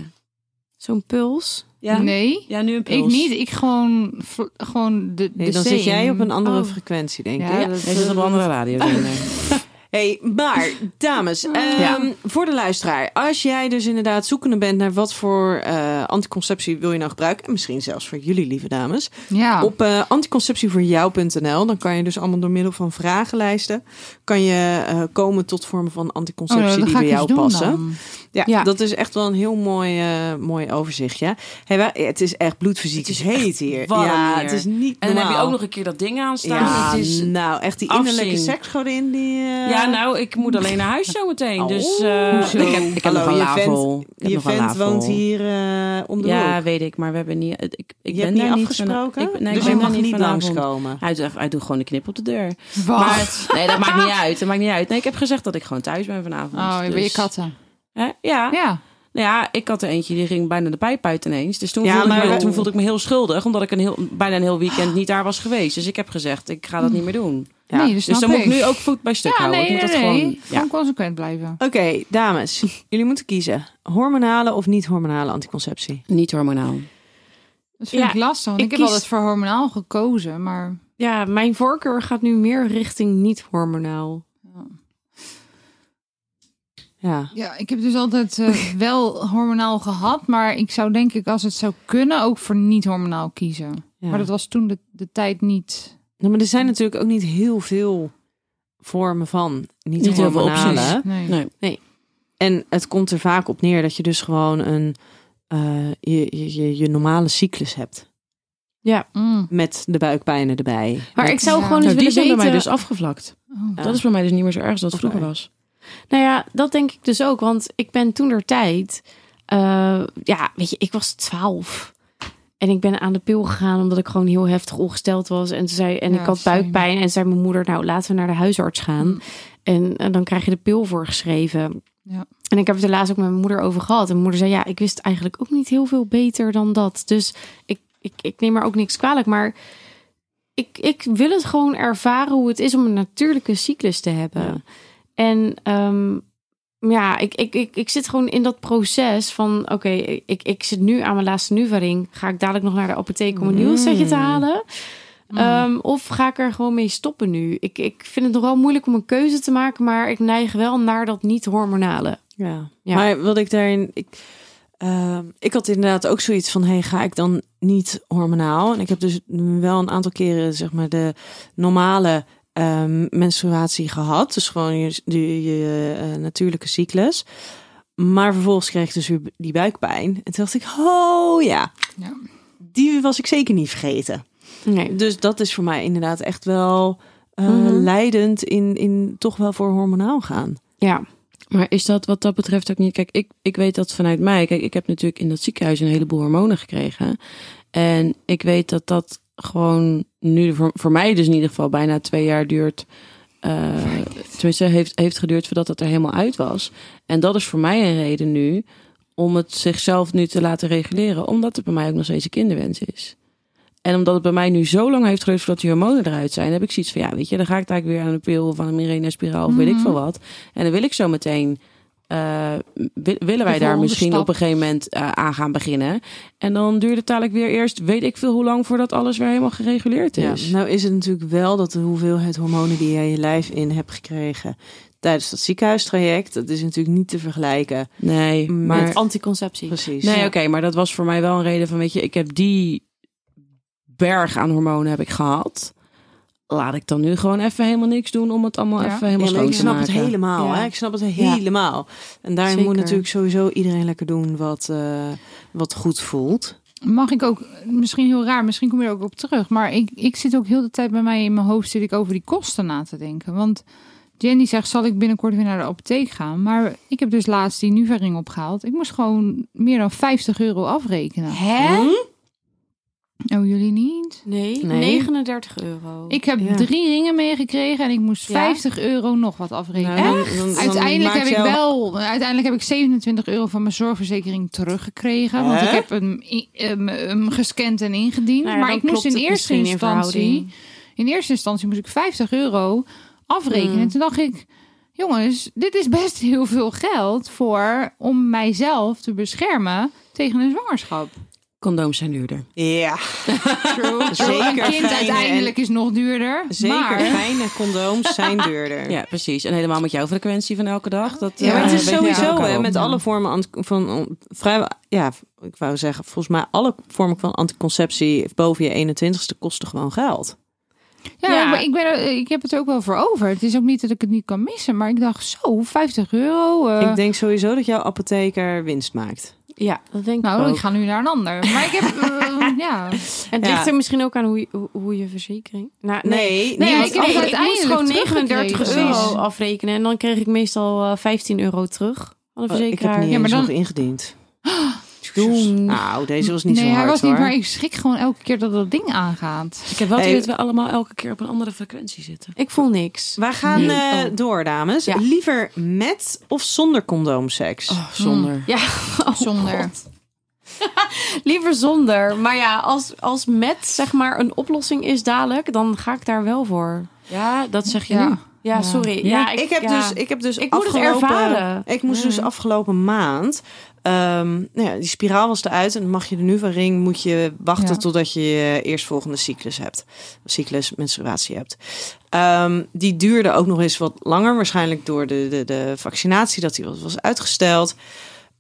Speaker 1: Zo'n puls.
Speaker 2: Ja.
Speaker 3: Nee.
Speaker 2: Ja, nu een
Speaker 3: Ik
Speaker 2: puls.
Speaker 3: niet. Ik gewoon, v- gewoon de,
Speaker 4: Nee,
Speaker 3: de
Speaker 4: dan
Speaker 3: same.
Speaker 4: zit jij op een andere
Speaker 1: Oh.
Speaker 4: frequentie, denk ik.
Speaker 3: Ja, dat,
Speaker 2: Hij zit op een andere radio.
Speaker 4: Hey, maar dames, ehm,
Speaker 1: Ja.
Speaker 4: voor de luisteraar, als jij dus inderdaad zoekende bent naar wat voor eh, anticonceptie wil je nou gebruiken, en misschien zelfs voor jullie lieve dames,
Speaker 3: Ja.
Speaker 4: op eh, anticonceptievoorjou.nl, dan kan je dus allemaal door middel van vragenlijsten, kan je eh, komen tot vormen van
Speaker 3: Oh,
Speaker 4: anticonceptie
Speaker 3: nou, dat
Speaker 4: die
Speaker 3: ga
Speaker 4: bij
Speaker 3: ik eens
Speaker 4: jou
Speaker 3: doen
Speaker 4: passen.
Speaker 3: dan.
Speaker 4: Ja,
Speaker 1: Ja.
Speaker 4: dat is echt wel een heel mooi, eh, mooi overzichtje. Hey, wa- het is echt bloedfysiek. Het is heet hier.
Speaker 2: warm
Speaker 4: ja,
Speaker 2: hier.
Speaker 4: het is niet
Speaker 2: En dan heb je
Speaker 4: normaal.
Speaker 2: ook nog een keer dat ding aan staan.
Speaker 4: Ja,
Speaker 2: het is,
Speaker 4: nou, echt die
Speaker 2: afzien.
Speaker 4: innerlijke seksgodin die... eh,
Speaker 2: ja, nou, ik moet alleen naar huis zo meteen.
Speaker 4: Oh,
Speaker 2: Dus eh,
Speaker 4: hoezo?
Speaker 2: ik heb, ik heb
Speaker 4: Hallo,
Speaker 2: nog een
Speaker 4: je vent-
Speaker 2: lavel. Ik heb
Speaker 4: Je
Speaker 2: nog een
Speaker 4: vent
Speaker 2: lavel.
Speaker 4: woont hier eh, om de
Speaker 2: Ja,
Speaker 4: hoek.
Speaker 2: weet ik, maar we hebben niet. Ik, ik
Speaker 4: Je
Speaker 2: ben
Speaker 4: hebt niet
Speaker 2: daar
Speaker 4: afgesproken,
Speaker 2: Niet van, ik, nee,
Speaker 4: dus
Speaker 2: ik
Speaker 4: je
Speaker 2: ben daar
Speaker 4: mag niet
Speaker 2: vanavond.
Speaker 4: langskomen.
Speaker 2: Hij doet, hij doet gewoon een knip op de deur.
Speaker 3: Wat?
Speaker 2: Maar het- nee, dat maakt niet uit. Dat maakt niet uit. Nee, ik heb gezegd dat ik gewoon thuis ben vanavond.
Speaker 3: Oh, je
Speaker 2: dus,
Speaker 3: ben je katten.
Speaker 2: Hè? Ja. Nou
Speaker 3: Ja.
Speaker 2: ja, ik had er eentje die ging bijna de pijp uit ineens. Dus toen,
Speaker 4: Ja,
Speaker 2: voelde,
Speaker 4: maar-
Speaker 2: ik me, toen voelde ik me heel schuldig, omdat ik een heel, bijna een heel weekend niet daar was geweest. Dus ik heb gezegd, ik ga dat niet meer doen.
Speaker 4: Ja.
Speaker 3: Nee, dat snap
Speaker 2: Dus dan moet ik
Speaker 3: ik.
Speaker 2: nu ook voet bij stuk
Speaker 3: Ja,
Speaker 2: houden.
Speaker 3: nee,
Speaker 2: ik moet
Speaker 3: nee,
Speaker 2: dat
Speaker 3: nee.
Speaker 2: gewoon. Ja.
Speaker 3: Gewoon consequent blijven.
Speaker 4: Oké, dames. jullie moeten kiezen. Hormonale of niet-hormonale anticonceptie?
Speaker 2: Niet
Speaker 3: Oh,
Speaker 2: hormonaal.
Speaker 3: dus Dat vind
Speaker 1: Ja,
Speaker 3: ik lastig. want
Speaker 1: ik
Speaker 3: Ik, heb
Speaker 1: kies-
Speaker 3: altijd voor hormonaal gekozen, maar
Speaker 1: Ja, mijn voorkeur gaat nu meer richting niet-hormonaal.
Speaker 4: Ja.
Speaker 3: ja, ik heb dus altijd eh, wel hormonaal gehad. Maar ik zou denk ik, als het zou kunnen, ook voor niet-hormonaal kiezen.
Speaker 4: ja.
Speaker 3: Maar dat was toen de, de tijd niet.
Speaker 4: Nou, maar er zijn natuurlijk ook niet heel veel vormen van
Speaker 2: heel veel
Speaker 4: niet-hormonale.
Speaker 2: opties.
Speaker 3: Nee.
Speaker 2: Nee.
Speaker 4: en het komt er vaak op neer dat je dus gewoon een... eh, je, je, je, je normale cyclus hebt.
Speaker 3: Mm.
Speaker 4: Met de buikpijnen erbij.
Speaker 1: Maar ik zou
Speaker 3: Ja.
Speaker 1: gewoon eens
Speaker 2: Nou, die
Speaker 1: willen
Speaker 2: zijn bij
Speaker 1: weten...
Speaker 2: mij dus afgevlakt.
Speaker 3: Oh.
Speaker 2: Dat is bij mij dus niet meer zo erg als dat
Speaker 4: Oké.
Speaker 2: vroeger was.
Speaker 1: Nou ja, dat denk ik dus ook. Want ik ben toen der tijd... eh, ja, weet je, ik was twaalf. En ik ben aan de pil gegaan omdat ik gewoon heel heftig ongesteld was. En, toen zei, en
Speaker 3: Ja,
Speaker 1: ik had
Speaker 3: same.
Speaker 1: buikpijn. En zei mijn moeder, nou laten we naar de huisarts gaan.
Speaker 3: Mm.
Speaker 1: En, en dan krijg je de pil voorgeschreven.
Speaker 3: Ja.
Speaker 1: En ik heb het helaas ook met mijn moeder over gehad. En mijn moeder zei, ja, ik wist eigenlijk ook niet heel veel beter dan dat. Dus ik, ik, ik neem er ook niks kwalijk. Maar ik, ik wil het gewoon ervaren hoe het is om een natuurlijke cyclus te hebben.
Speaker 4: Ja.
Speaker 1: En ehm, ja, ik, ik, ik, ik zit gewoon in dat proces van... oké, ik, ik zit nu aan mijn laatste nuvaring. Ga ik dadelijk nog naar de apotheek om een nieuw setje te
Speaker 4: Mm.
Speaker 1: halen? Ehm, of ga ik er gewoon mee stoppen nu? Ik, ik vind het nog wel moeilijk om een keuze te maken... maar ik neig wel naar dat niet-hormonale.
Speaker 4: Ja.
Speaker 1: Ja.
Speaker 4: Maar wat ik daarin. Ik, ehm, ik had inderdaad ook zoiets van: hey, ga ik dan niet hormonaal? En ik heb dus wel een aantal keren, zeg maar, de normale ehm, menstruatie gehad. Dus gewoon je, je, je, eh, natuurlijke cyclus. Maar vervolgens kreeg ik dus weer die buikpijn. En toen dacht ik: oh ja.
Speaker 3: Ja.
Speaker 4: Die was ik zeker niet vergeten.
Speaker 1: Nee.
Speaker 4: Dus dat is voor mij inderdaad echt wel eh,
Speaker 1: Mhm.
Speaker 4: leidend in, in toch wel voor hormonaal gaan.
Speaker 1: Ja.
Speaker 2: Maar is dat wat dat betreft ook niet? Kijk, ik, ik weet dat vanuit mij. Kijk, ik heb natuurlijk in dat ziekenhuis een heleboel hormonen gekregen. En ik weet dat dat gewoon nu voor, voor mij dus in ieder geval bijna twee jaar duurt. eh, tenminste, heeft, heeft geduurd voordat het er helemaal uit was. En dat is voor mij een reden nu om het zichzelf nu te laten reguleren. Omdat het bij mij ook nog steeds een kinderwens is. En omdat het bij mij nu zo lang heeft geduurd voordat die hormonen eruit zijn, heb ik zoiets
Speaker 3: Mhm.
Speaker 2: van ja, weet je, dan ga ik daar weer aan de pil of aan een Mirena spiraal of weet ik veel wat. En dan wil ik zo meteen eh, eh, wi- willen wij daar
Speaker 3: volgende
Speaker 2: misschien
Speaker 3: stap.
Speaker 2: op een gegeven moment eh, aan gaan beginnen. En dan duurt het dadelijk weer eerst, weet ik veel hoe lang, voordat alles weer helemaal gereguleerd
Speaker 4: Ja,
Speaker 2: is.
Speaker 4: nou is het natuurlijk wel dat de hoeveelheid hormonen die jij je lijf in hebt gekregen tijdens dat ziekenhuistraject, dat is natuurlijk niet te vergelijken.
Speaker 2: Nee,
Speaker 4: Maar-
Speaker 2: maar...
Speaker 1: Met anticonceptie.
Speaker 4: Precies.
Speaker 2: Nee, oké, maar dat was voor mij wel een reden van, weet je, ik heb die berg aan hormonen heb ik gehad. Laat ik dan nu gewoon even helemaal niks doen om het allemaal
Speaker 3: Ja.
Speaker 2: even helemaal
Speaker 4: Ja, maar
Speaker 2: schoon
Speaker 4: ik
Speaker 2: te
Speaker 4: snap het
Speaker 2: maken.
Speaker 4: helemaal.
Speaker 1: Ja.
Speaker 4: Hè? Ik snap het helemaal. En daarin moet
Speaker 1: Zeker.
Speaker 4: natuurlijk sowieso iedereen lekker doen wat, eh, wat goed voelt.
Speaker 3: Mag ik ook, misschien heel raar, misschien kom je er ook op terug. Maar ik, ik zit ook heel de tijd bij mij in mijn hoofd zit ik over die kosten na te denken. Want Jenny zegt, zal ik binnenkort weer naar de apotheek gaan? Maar ik heb dus laatst die Nuvaring opgehaald. Ik moest gewoon meer dan 50 euro afrekenen.
Speaker 1: Hè?
Speaker 3: Oh, jullie niet?
Speaker 1: Hm? Nee,
Speaker 4: Nee.
Speaker 1: 39 euro.
Speaker 3: Ik heb
Speaker 4: Ja.
Speaker 3: drie ringen meegekregen en ik moest
Speaker 1: Ja?
Speaker 3: 50 euro nog wat afrekenen.
Speaker 4: Nou, dan- dan- dan
Speaker 3: Uiteindelijk
Speaker 4: maakt
Speaker 3: heb ik
Speaker 4: jou-
Speaker 3: wel, uiteindelijk heb ik 27 euro van mijn zorgverzekering teruggekregen. Want
Speaker 4: Hè?
Speaker 3: ik heb hem, i- hem, hem gescand en ingediend.
Speaker 1: Nou ja,
Speaker 3: maar
Speaker 1: dan
Speaker 3: ik moest
Speaker 1: klopt
Speaker 3: in
Speaker 1: het
Speaker 3: eerste
Speaker 1: misschien in
Speaker 3: instantie.
Speaker 1: verhouding.
Speaker 3: in eerste instantie moest ik 50 euro
Speaker 1: Hmm.
Speaker 3: afrekenen. En toen dacht ik, jongens, dit is best heel veel geld voor om mijzelf te beschermen tegen een zwangerschap.
Speaker 2: Condooms zijn duurder.
Speaker 4: Ja, Zeker
Speaker 3: een kind
Speaker 4: fijne
Speaker 3: uiteindelijk is nog duurder.
Speaker 4: zeker.
Speaker 3: maar-
Speaker 4: Fijne condooms zijn duurder.
Speaker 2: Ja, precies. En helemaal met jouw frequentie van elke dag. Dat,
Speaker 4: Ja, maar het
Speaker 2: eh,
Speaker 4: is
Speaker 2: weet je
Speaker 4: sowieso
Speaker 2: ook al.
Speaker 4: hè, met alle vormen ant- van on- vrijwel, ja, ik wou zeggen, volgens mij alle vormen van anticonceptie boven je 21ste kosten gewoon geld.
Speaker 3: Ja,
Speaker 1: Ja.
Speaker 3: maar ik, ben, er- ik heb het ook wel voor over. Het is ook niet dat ik het niet kan missen, maar ik dacht zo, 50 euro. eh,
Speaker 4: ik denk sowieso dat jouw apotheker winst maakt.
Speaker 1: Ja, dat denk ik
Speaker 3: nou,
Speaker 1: ook.
Speaker 3: ik ga nu naar een ander. Maar ik heb, eh, ja.
Speaker 1: En het ligt
Speaker 4: Ja.
Speaker 1: er misschien ook aan hoe je, hoe- hoe je verzekering... Nou,
Speaker 4: Nee,
Speaker 1: Nee,
Speaker 3: Ja,
Speaker 1: want
Speaker 3: ik
Speaker 1: ik,
Speaker 3: heb
Speaker 1: nee,
Speaker 3: het
Speaker 1: ik moest
Speaker 3: uiteindelijk
Speaker 1: gewoon 39
Speaker 3: teruggekregen.
Speaker 1: euro
Speaker 3: Precies.
Speaker 1: afrekenen. En dan kreeg ik meestal eh, 15 euro terug van de
Speaker 4: Oh, ik heb
Speaker 1: verzekeraar.
Speaker 4: niet
Speaker 3: Ja, maar
Speaker 4: eens
Speaker 3: dan-
Speaker 4: nog ingediend.
Speaker 1: Doen.
Speaker 4: Nou, deze was niet
Speaker 3: nee,
Speaker 4: zo hard
Speaker 3: hij was
Speaker 4: hoor.
Speaker 3: niet, maar ik schrik gewoon elke keer dat dat ding aangaat.
Speaker 2: Ik heb wel het
Speaker 4: Hey.
Speaker 2: idee dat we allemaal elke keer op een andere frequentie zitten.
Speaker 1: Ik voel niks.
Speaker 4: We gaan
Speaker 1: Nee.
Speaker 4: eh, door, dames.
Speaker 1: Ja.
Speaker 4: Liever met of zonder condoomseks?
Speaker 2: Oh, zonder.
Speaker 1: Ja, oh
Speaker 3: Zonder.
Speaker 1: God. Liever zonder. Maar ja, als, als met zeg maar een oplossing is dadelijk, dan ga ik daar wel voor.
Speaker 2: Ja, dat zeg je
Speaker 3: Ja.
Speaker 2: nu.
Speaker 1: Ja,
Speaker 3: Ja.
Speaker 1: sorry.
Speaker 2: Ja,
Speaker 1: Ja,
Speaker 4: ik, heb
Speaker 1: ja.
Speaker 4: dus, ik heb dus
Speaker 1: Ik moet het
Speaker 4: afgelopen,
Speaker 1: ervaren.
Speaker 4: Ik moest dus afgelopen maand. ehm, nou ja, die spiraal was eruit en dan mag je de Nuvaring moet je wachten
Speaker 3: Ja.
Speaker 4: totdat je je eerstvolgende cyclus hebt, cyclus menstruatie hebt. Ehm, die duurde ook nog eens wat langer, waarschijnlijk door de, de, de vaccinatie dat die was- was uitgesteld.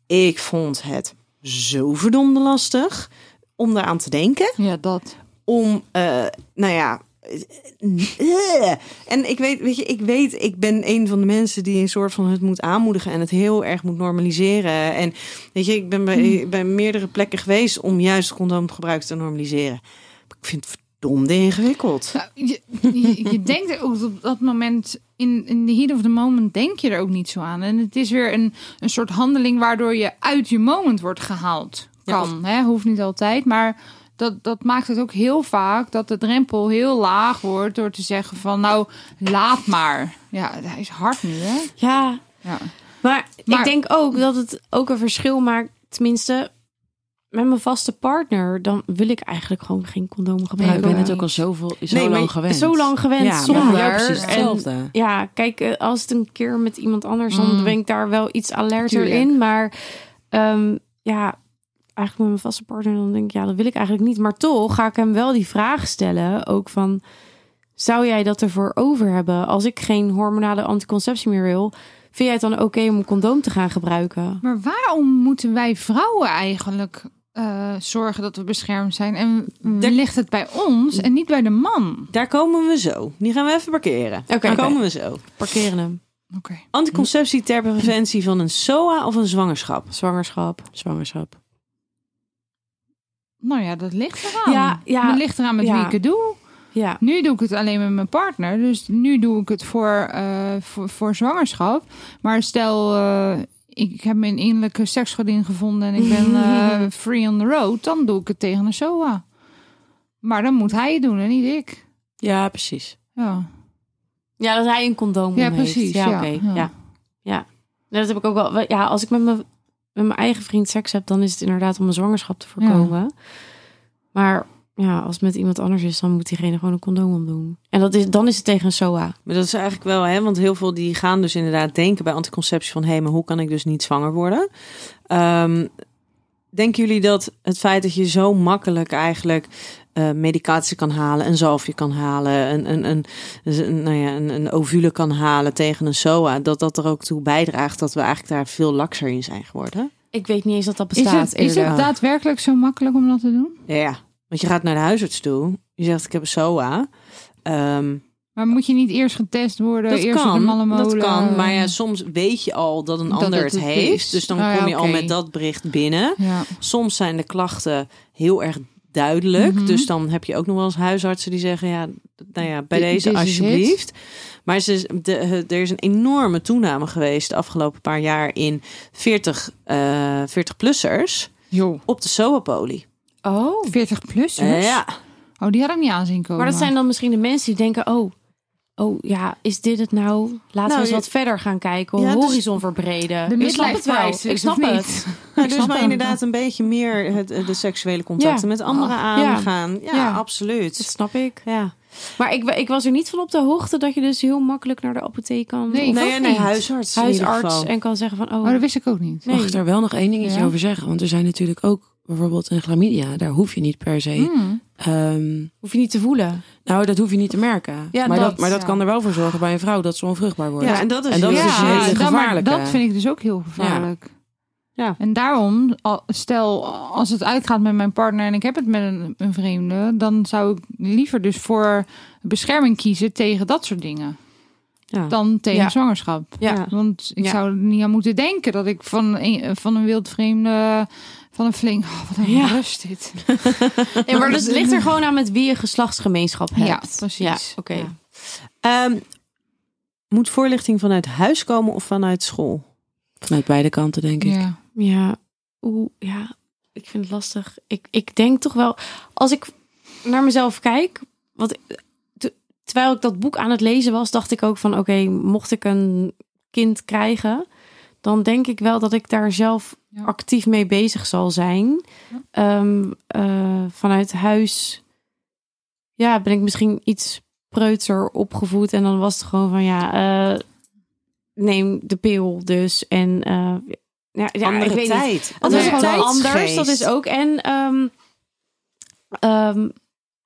Speaker 4: Ik vond het zo verdomde lastig om daaraan te denken
Speaker 3: Ja, dat.
Speaker 4: om, eh, nou ja. eh, En ik weet, weet je, ik weet, ik ben een van de mensen die een soort van het moet aanmoedigen en het heel erg moet normaliseren. En weet je, ik ben bij, bij meerdere plekken geweest om juist condoomgebruik te normaliseren. Maar Ik vind het verdomde ingewikkeld.
Speaker 3: Nou, je, je, je denkt er ook op dat moment, in, in the heat of the moment, denk je er ook niet zo aan. En het is weer een, een soort handeling waardoor je uit je moment wordt gehaald. Kan, hè? hoeft niet altijd, maar dat, dat maakt het ook heel vaak dat de drempel heel laag wordt door te zeggen van nou, laat maar. Ja, hij is hard nu, hè?
Speaker 1: Ja,
Speaker 3: Ja.
Speaker 1: Maar,
Speaker 3: Maar-
Speaker 1: ik denk ook dat het ook een verschil maakt. Tenminste, met mijn vaste partner, dan wil ik eigenlijk gewoon geen condoom
Speaker 2: Maar ik
Speaker 1: gebruiken.
Speaker 2: ben het
Speaker 3: niet.
Speaker 2: ook al zoveel, zo
Speaker 4: Nee, maar
Speaker 2: lang gewend.
Speaker 1: Zo lang gewend
Speaker 2: Ja, maar voor
Speaker 1: zonder.
Speaker 2: jou precies
Speaker 1: En-
Speaker 2: hetzelfde.
Speaker 1: ja, kijk, eh, als het een keer met iemand anders, dan ben ik daar wel iets alerter
Speaker 3: Tuurlijk.
Speaker 1: in. Maar ehm, ja, eigenlijk met mijn vaste partner, dan denk ik, ja, dat wil ik eigenlijk niet. Maar toch ga ik hem wel die vraag stellen, ook van, zou jij dat ervoor over hebben? Als ik geen hormonale anticonceptie meer wil, vind jij het dan oké om een condoom te gaan gebruiken?
Speaker 3: Maar waarom moeten wij vrouwen eigenlijk eh, zorgen dat we beschermd zijn? En ligt het bij ons en niet bij de man?
Speaker 4: Daar komen we zo. Die gaan we even parkeren.
Speaker 1: Oké.
Speaker 4: Daar
Speaker 1: Oké.
Speaker 4: komen we zo.
Speaker 1: Parkeren hem.
Speaker 3: Oké.
Speaker 4: Anticonceptie ter preventie van een SOA of een zwangerschap?
Speaker 1: Zwangerschap.
Speaker 2: Zwangerschap.
Speaker 3: Nou ja, dat ligt eraan.
Speaker 1: Ja, ja.
Speaker 3: Het ligt eraan met wie
Speaker 1: Ja.
Speaker 3: ik het doe.
Speaker 1: Ja.
Speaker 3: Nu doe ik het alleen met mijn partner. Dus nu doe ik het voor, eh, voor, voor zwangerschap. Maar stel, eh, ik heb mijn innerlijke seksgodin gevonden en ik ben eh, free on the road. Dan doe ik het tegen een SOA. Maar dan moet hij het doen en niet ik.
Speaker 2: Ja, precies.
Speaker 3: Ja,
Speaker 1: Ja, dat hij een condoom
Speaker 3: ja
Speaker 1: om heeft.
Speaker 3: precies.
Speaker 1: Ja, oké. Ja. Ja. Nee, dat heb ik ook wel. Ja, als ik met mijn, met mijn eigen vriend seks heb, dan is het inderdaad om een zwangerschap te voorkomen. Maar Ja, als het met iemand anders is, dan moet diegene gewoon een condoom omdoen. En dat is, dan is het tegen een SOA.
Speaker 4: Maar dat is eigenlijk wel, hè, want heel veel die gaan dus inderdaad denken bij anticonceptie van, hé, maar hoe kan ik dus niet zwanger worden? Ehm, denken jullie dat het feit dat je zo makkelijk eigenlijk eh, medicatie kan halen, een zalfje kan halen, een, een, een, een, nou ja, een, een ovule kan halen tegen een SOA, dat dat er ook toe bijdraagt dat we eigenlijk daar veel lakser in zijn geworden?
Speaker 1: Ik weet niet eens dat dat
Speaker 3: Is
Speaker 1: bestaat.
Speaker 3: het, is
Speaker 1: eerlijk.
Speaker 3: het daadwerkelijk zo makkelijk om dat te doen?
Speaker 4: Ja, want je gaat naar de huisarts toe, je zegt ik heb een SOA. Ehm,
Speaker 3: Maar moet je niet eerst getest worden?
Speaker 4: Dat
Speaker 3: eerst op de
Speaker 4: kan,
Speaker 3: mallenmolen?
Speaker 4: dat kan. Maar ja, soms weet je al dat een
Speaker 3: Dat
Speaker 4: ander
Speaker 3: het
Speaker 4: het,
Speaker 3: het
Speaker 4: heeft.
Speaker 3: is.
Speaker 4: Dus dan
Speaker 3: Oh ja,
Speaker 4: kom je al
Speaker 3: oké.
Speaker 4: met dat bericht binnen.
Speaker 3: Ja.
Speaker 4: Soms zijn de klachten heel erg duidelijk.
Speaker 3: Mhm.
Speaker 4: Dus dan heb je ook nog wel eens huisartsen die zeggen... ja, d- nou ja, bij
Speaker 3: Dit-
Speaker 4: deze
Speaker 3: dit is
Speaker 4: alsjeblieft. Maar ze, is- de, eh, er is een enorme toename geweest de afgelopen paar jaar... in 40, eh 40-plussers
Speaker 3: Joh.
Speaker 4: op de SOA-poli.
Speaker 1: Oh.
Speaker 3: 40 plus?
Speaker 4: ja,
Speaker 3: Oh, die had ik niet aanzien komen.
Speaker 1: Maar dat zijn dan misschien de mensen die denken, oh, oh ja, is dit het nou? Laten we
Speaker 4: Nou,
Speaker 1: eens
Speaker 4: je-
Speaker 1: wat verder gaan kijken.
Speaker 4: Ja, dus-
Speaker 1: horizon verbreden.
Speaker 3: de
Speaker 1: ik snap
Speaker 3: midlife
Speaker 1: het wel.
Speaker 3: crisis,
Speaker 1: ik snap
Speaker 3: of niet?
Speaker 1: het.
Speaker 4: Nou,
Speaker 1: Ik
Speaker 4: dus
Speaker 1: snap
Speaker 4: maar
Speaker 1: hem.
Speaker 4: inderdaad een beetje meer het, eh, de seksuele contacten
Speaker 1: Ja.
Speaker 4: met anderen
Speaker 1: Ah, ja.
Speaker 4: aangaan. Ja,
Speaker 1: Ja. Dat
Speaker 4: absoluut.
Speaker 1: snap ik.
Speaker 4: Ja.
Speaker 1: Maar ik, ik was er niet van op de hoogte dat je dus heel makkelijk naar de apotheek kan.
Speaker 3: Nee,
Speaker 1: of
Speaker 3: ik
Speaker 4: nee,
Speaker 3: ook
Speaker 4: nee,
Speaker 3: niet.
Speaker 4: huisarts. in ieder
Speaker 1: huisarts
Speaker 4: geval.
Speaker 1: en kan zeggen van, oh,
Speaker 3: Oh, dat wist ik ook niet.
Speaker 1: nee.
Speaker 2: Mag ik daar wel nog één dingetje
Speaker 3: Ja.
Speaker 2: over zeggen? Want er zijn natuurlijk ook bijvoorbeeld een chlamydia. Daar hoef je niet per se.
Speaker 3: Hmm.
Speaker 2: ehm,
Speaker 1: hoef je niet te voelen.
Speaker 2: nou, dat hoef je niet te merken.
Speaker 1: Ja,
Speaker 2: maar
Speaker 1: dat,
Speaker 2: dat, maar dat
Speaker 3: ja.
Speaker 2: kan er wel voor zorgen bij een vrouw dat ze onvruchtbaar wordt.
Speaker 4: Ja, en dat is,
Speaker 2: En dat is
Speaker 4: heel-
Speaker 2: dus
Speaker 4: ja,
Speaker 2: een hele
Speaker 3: dan- maar
Speaker 2: gevaarlijke.
Speaker 3: dat vind ik dus ook heel gevaarlijk.
Speaker 4: Ja.
Speaker 3: En daarom, al- stel als het uitgaat met mijn partner en ik heb het met een, een vreemde, dan zou ik liever dus voor bescherming kiezen tegen dat soort dingen
Speaker 4: Ja.
Speaker 3: dan tegen
Speaker 1: Ja.
Speaker 3: zwangerschap.
Speaker 4: Ja.
Speaker 3: Want ik
Speaker 1: Ja.
Speaker 3: zou er niet aan moeten denken dat ik van een, van een wildvreemde, van een flink, oh, wat een
Speaker 1: Ja.
Speaker 3: rust dit.
Speaker 1: Ja, maar het ligt er gewoon aan met wie je geslachtsgemeenschap hebt.
Speaker 3: Ja, precies.
Speaker 1: Ja, oké.
Speaker 3: Ja.
Speaker 4: Ehm, moet voorlichting vanuit huis komen of vanuit school?
Speaker 2: Vanuit beide kanten, denk ik.
Speaker 3: Ja.
Speaker 1: Ja, oeh, ja, ik vind het lastig. Ik, ik denk toch wel, als ik naar mezelf kijk, wat, te- terwijl ik dat boek aan het lezen was, dacht ik ook van, oké, mocht ik een kind krijgen, dan denk ik wel dat ik daar zelf
Speaker 3: Ja.
Speaker 1: actief mee bezig zal zijn. Ehm, eh, vanuit huis, ja, ben ik misschien iets preutser opgevoed en dan was het gewoon van, ja. eh, Neem de pil dus en eh, ja, ja, ik weet niet.
Speaker 4: tijd.
Speaker 1: Dat
Speaker 3: Nee.
Speaker 1: is gewoon
Speaker 4: Andere
Speaker 1: anders.
Speaker 4: tijdsgeest.
Speaker 1: Dat is ook. En. ehm, ehm,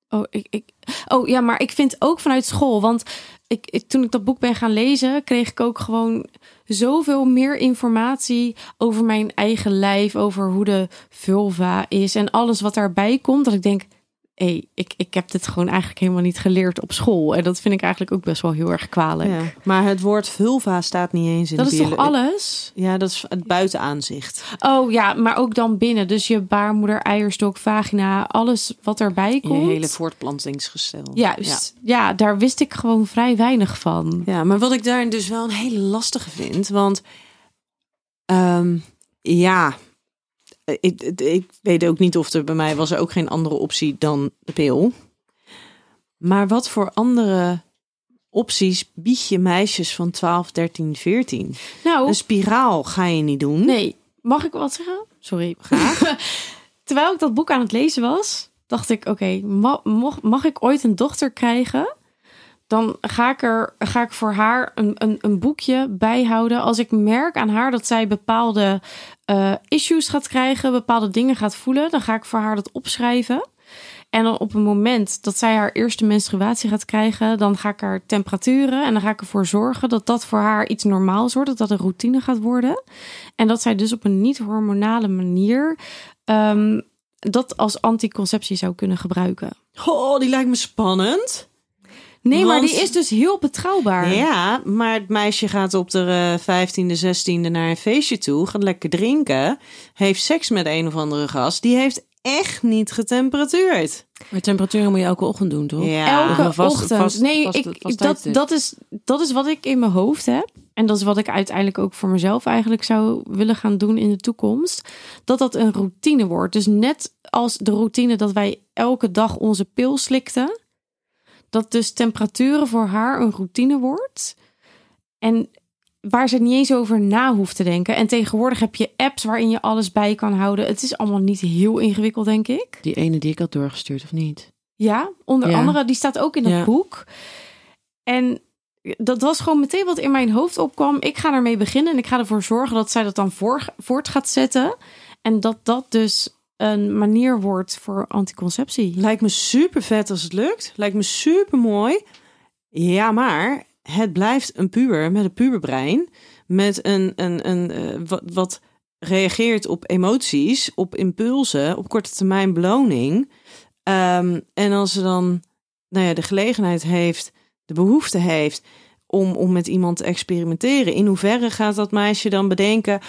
Speaker 1: oh, ik, ik, oh ja, maar ik vind ook vanuit school. Want ik, ik- toen ik dat boek ben gaan lezen, kreeg ik ook gewoon zoveel meer informatie over mijn eigen lijf. Over hoe de vulva is en alles wat daarbij komt. Dat ik denk. Hé, ik, ik heb dit gewoon eigenlijk helemaal niet geleerd op school. En dat vind ik eigenlijk ook best wel heel erg kwalijk.
Speaker 4: Ja. Maar het woord vulva staat niet eens in
Speaker 1: Dat
Speaker 4: de
Speaker 1: is toch
Speaker 4: biolo-
Speaker 1: alles?
Speaker 4: Ja, dat is het buitenaanzicht.
Speaker 1: Oh ja, maar ook dan binnen. Dus je baarmoeder, eierstok, vagina, alles wat erbij
Speaker 4: Je
Speaker 1: komt.
Speaker 4: hele voortplantingsgestel.
Speaker 1: Juist. Ja. daar wist ik gewoon vrij weinig van.
Speaker 4: Ja, maar wat ik daarin dus wel een hele lastige vind, want ehm, ja, eh, ik, ik, ik weet ook niet of er bij mij was er ook geen andere optie dan de pil. Maar wat voor andere opties bied je meisjes van 12, 13, 14?
Speaker 1: Nou,
Speaker 4: Een spiraal ga je niet doen.
Speaker 1: nee. Mag ik wat zeggen? Sorry. Terwijl ik dat boek aan het lezen was, dacht ik: oké, ma- mocht- mag ik ooit een dochter krijgen? Dan ga ik, er, ga ik voor haar een, een, een boekje bijhouden. Als ik merk aan haar dat zij bepaalde eh, issues gaat krijgen, bepaalde dingen gaat voelen, dan ga ik voor haar dat opschrijven. En dan op het moment dat zij haar eerste menstruatie gaat krijgen, dan ga ik haar temperaturen en dan ga ik ervoor zorgen dat dat voor haar iets normaals wordt, dat dat een routine gaat worden. En dat zij dus op een niet-hormonale manier ehm, dat als anticonceptie zou kunnen gebruiken.
Speaker 4: Oh, die lijkt me spannend.
Speaker 1: Nee, maar
Speaker 4: Want-
Speaker 1: die is dus heel betrouwbaar.
Speaker 4: Ja, maar het meisje gaat op de eh, 15e, 16e naar een feestje toe, gaat lekker drinken, heeft seks met een of andere gast, die heeft echt niet getemperatuurd.
Speaker 2: Maar temperaturen moet je elke ochtend doen, toch?
Speaker 4: Ja.
Speaker 2: Of een
Speaker 1: Elke
Speaker 2: vast-
Speaker 1: ochtend.
Speaker 2: vast-
Speaker 1: nee,
Speaker 2: vast-
Speaker 1: ik,
Speaker 2: vast
Speaker 1: dat,
Speaker 2: tijdstip.
Speaker 1: dat, is, dat is wat ik in mijn hoofd heb. En dat is wat ik uiteindelijk ook voor mezelf eigenlijk zou willen gaan doen in de toekomst. Dat dat een routine wordt. Dus net als de routine dat wij elke dag onze pil slikten. Dat dus temperaturen voor haar een routine wordt. En waar ze niet eens over na hoeft te denken. En tegenwoordig heb je apps waarin je alles bij kan houden. Het is allemaal niet heel ingewikkeld, denk ik.
Speaker 2: Die ene die ik had doorgestuurd, of niet?
Speaker 1: Ja, onder
Speaker 2: Ja.
Speaker 1: andere, die staat ook in dat
Speaker 2: Ja.
Speaker 1: boek. En dat was gewoon meteen wat in mijn hoofd opkwam. Ik ga ermee beginnen en ik ga ervoor zorgen dat zij dat dan voor, voort gaat zetten. En dat dat dus een manier wordt voor anticonceptie.
Speaker 4: Lijkt me super vet als het lukt. Lijkt me super mooi. Ja, maar het blijft een puber met een puberbrein. Met een, een, een eh, wat, wat reageert op emoties, op impulsen, op korte termijn beloning. Ehm, en als ze dan nou ja, de gelegenheid heeft, de behoefte heeft om, om met iemand te experimenteren. In hoeverre gaat dat meisje dan bedenken?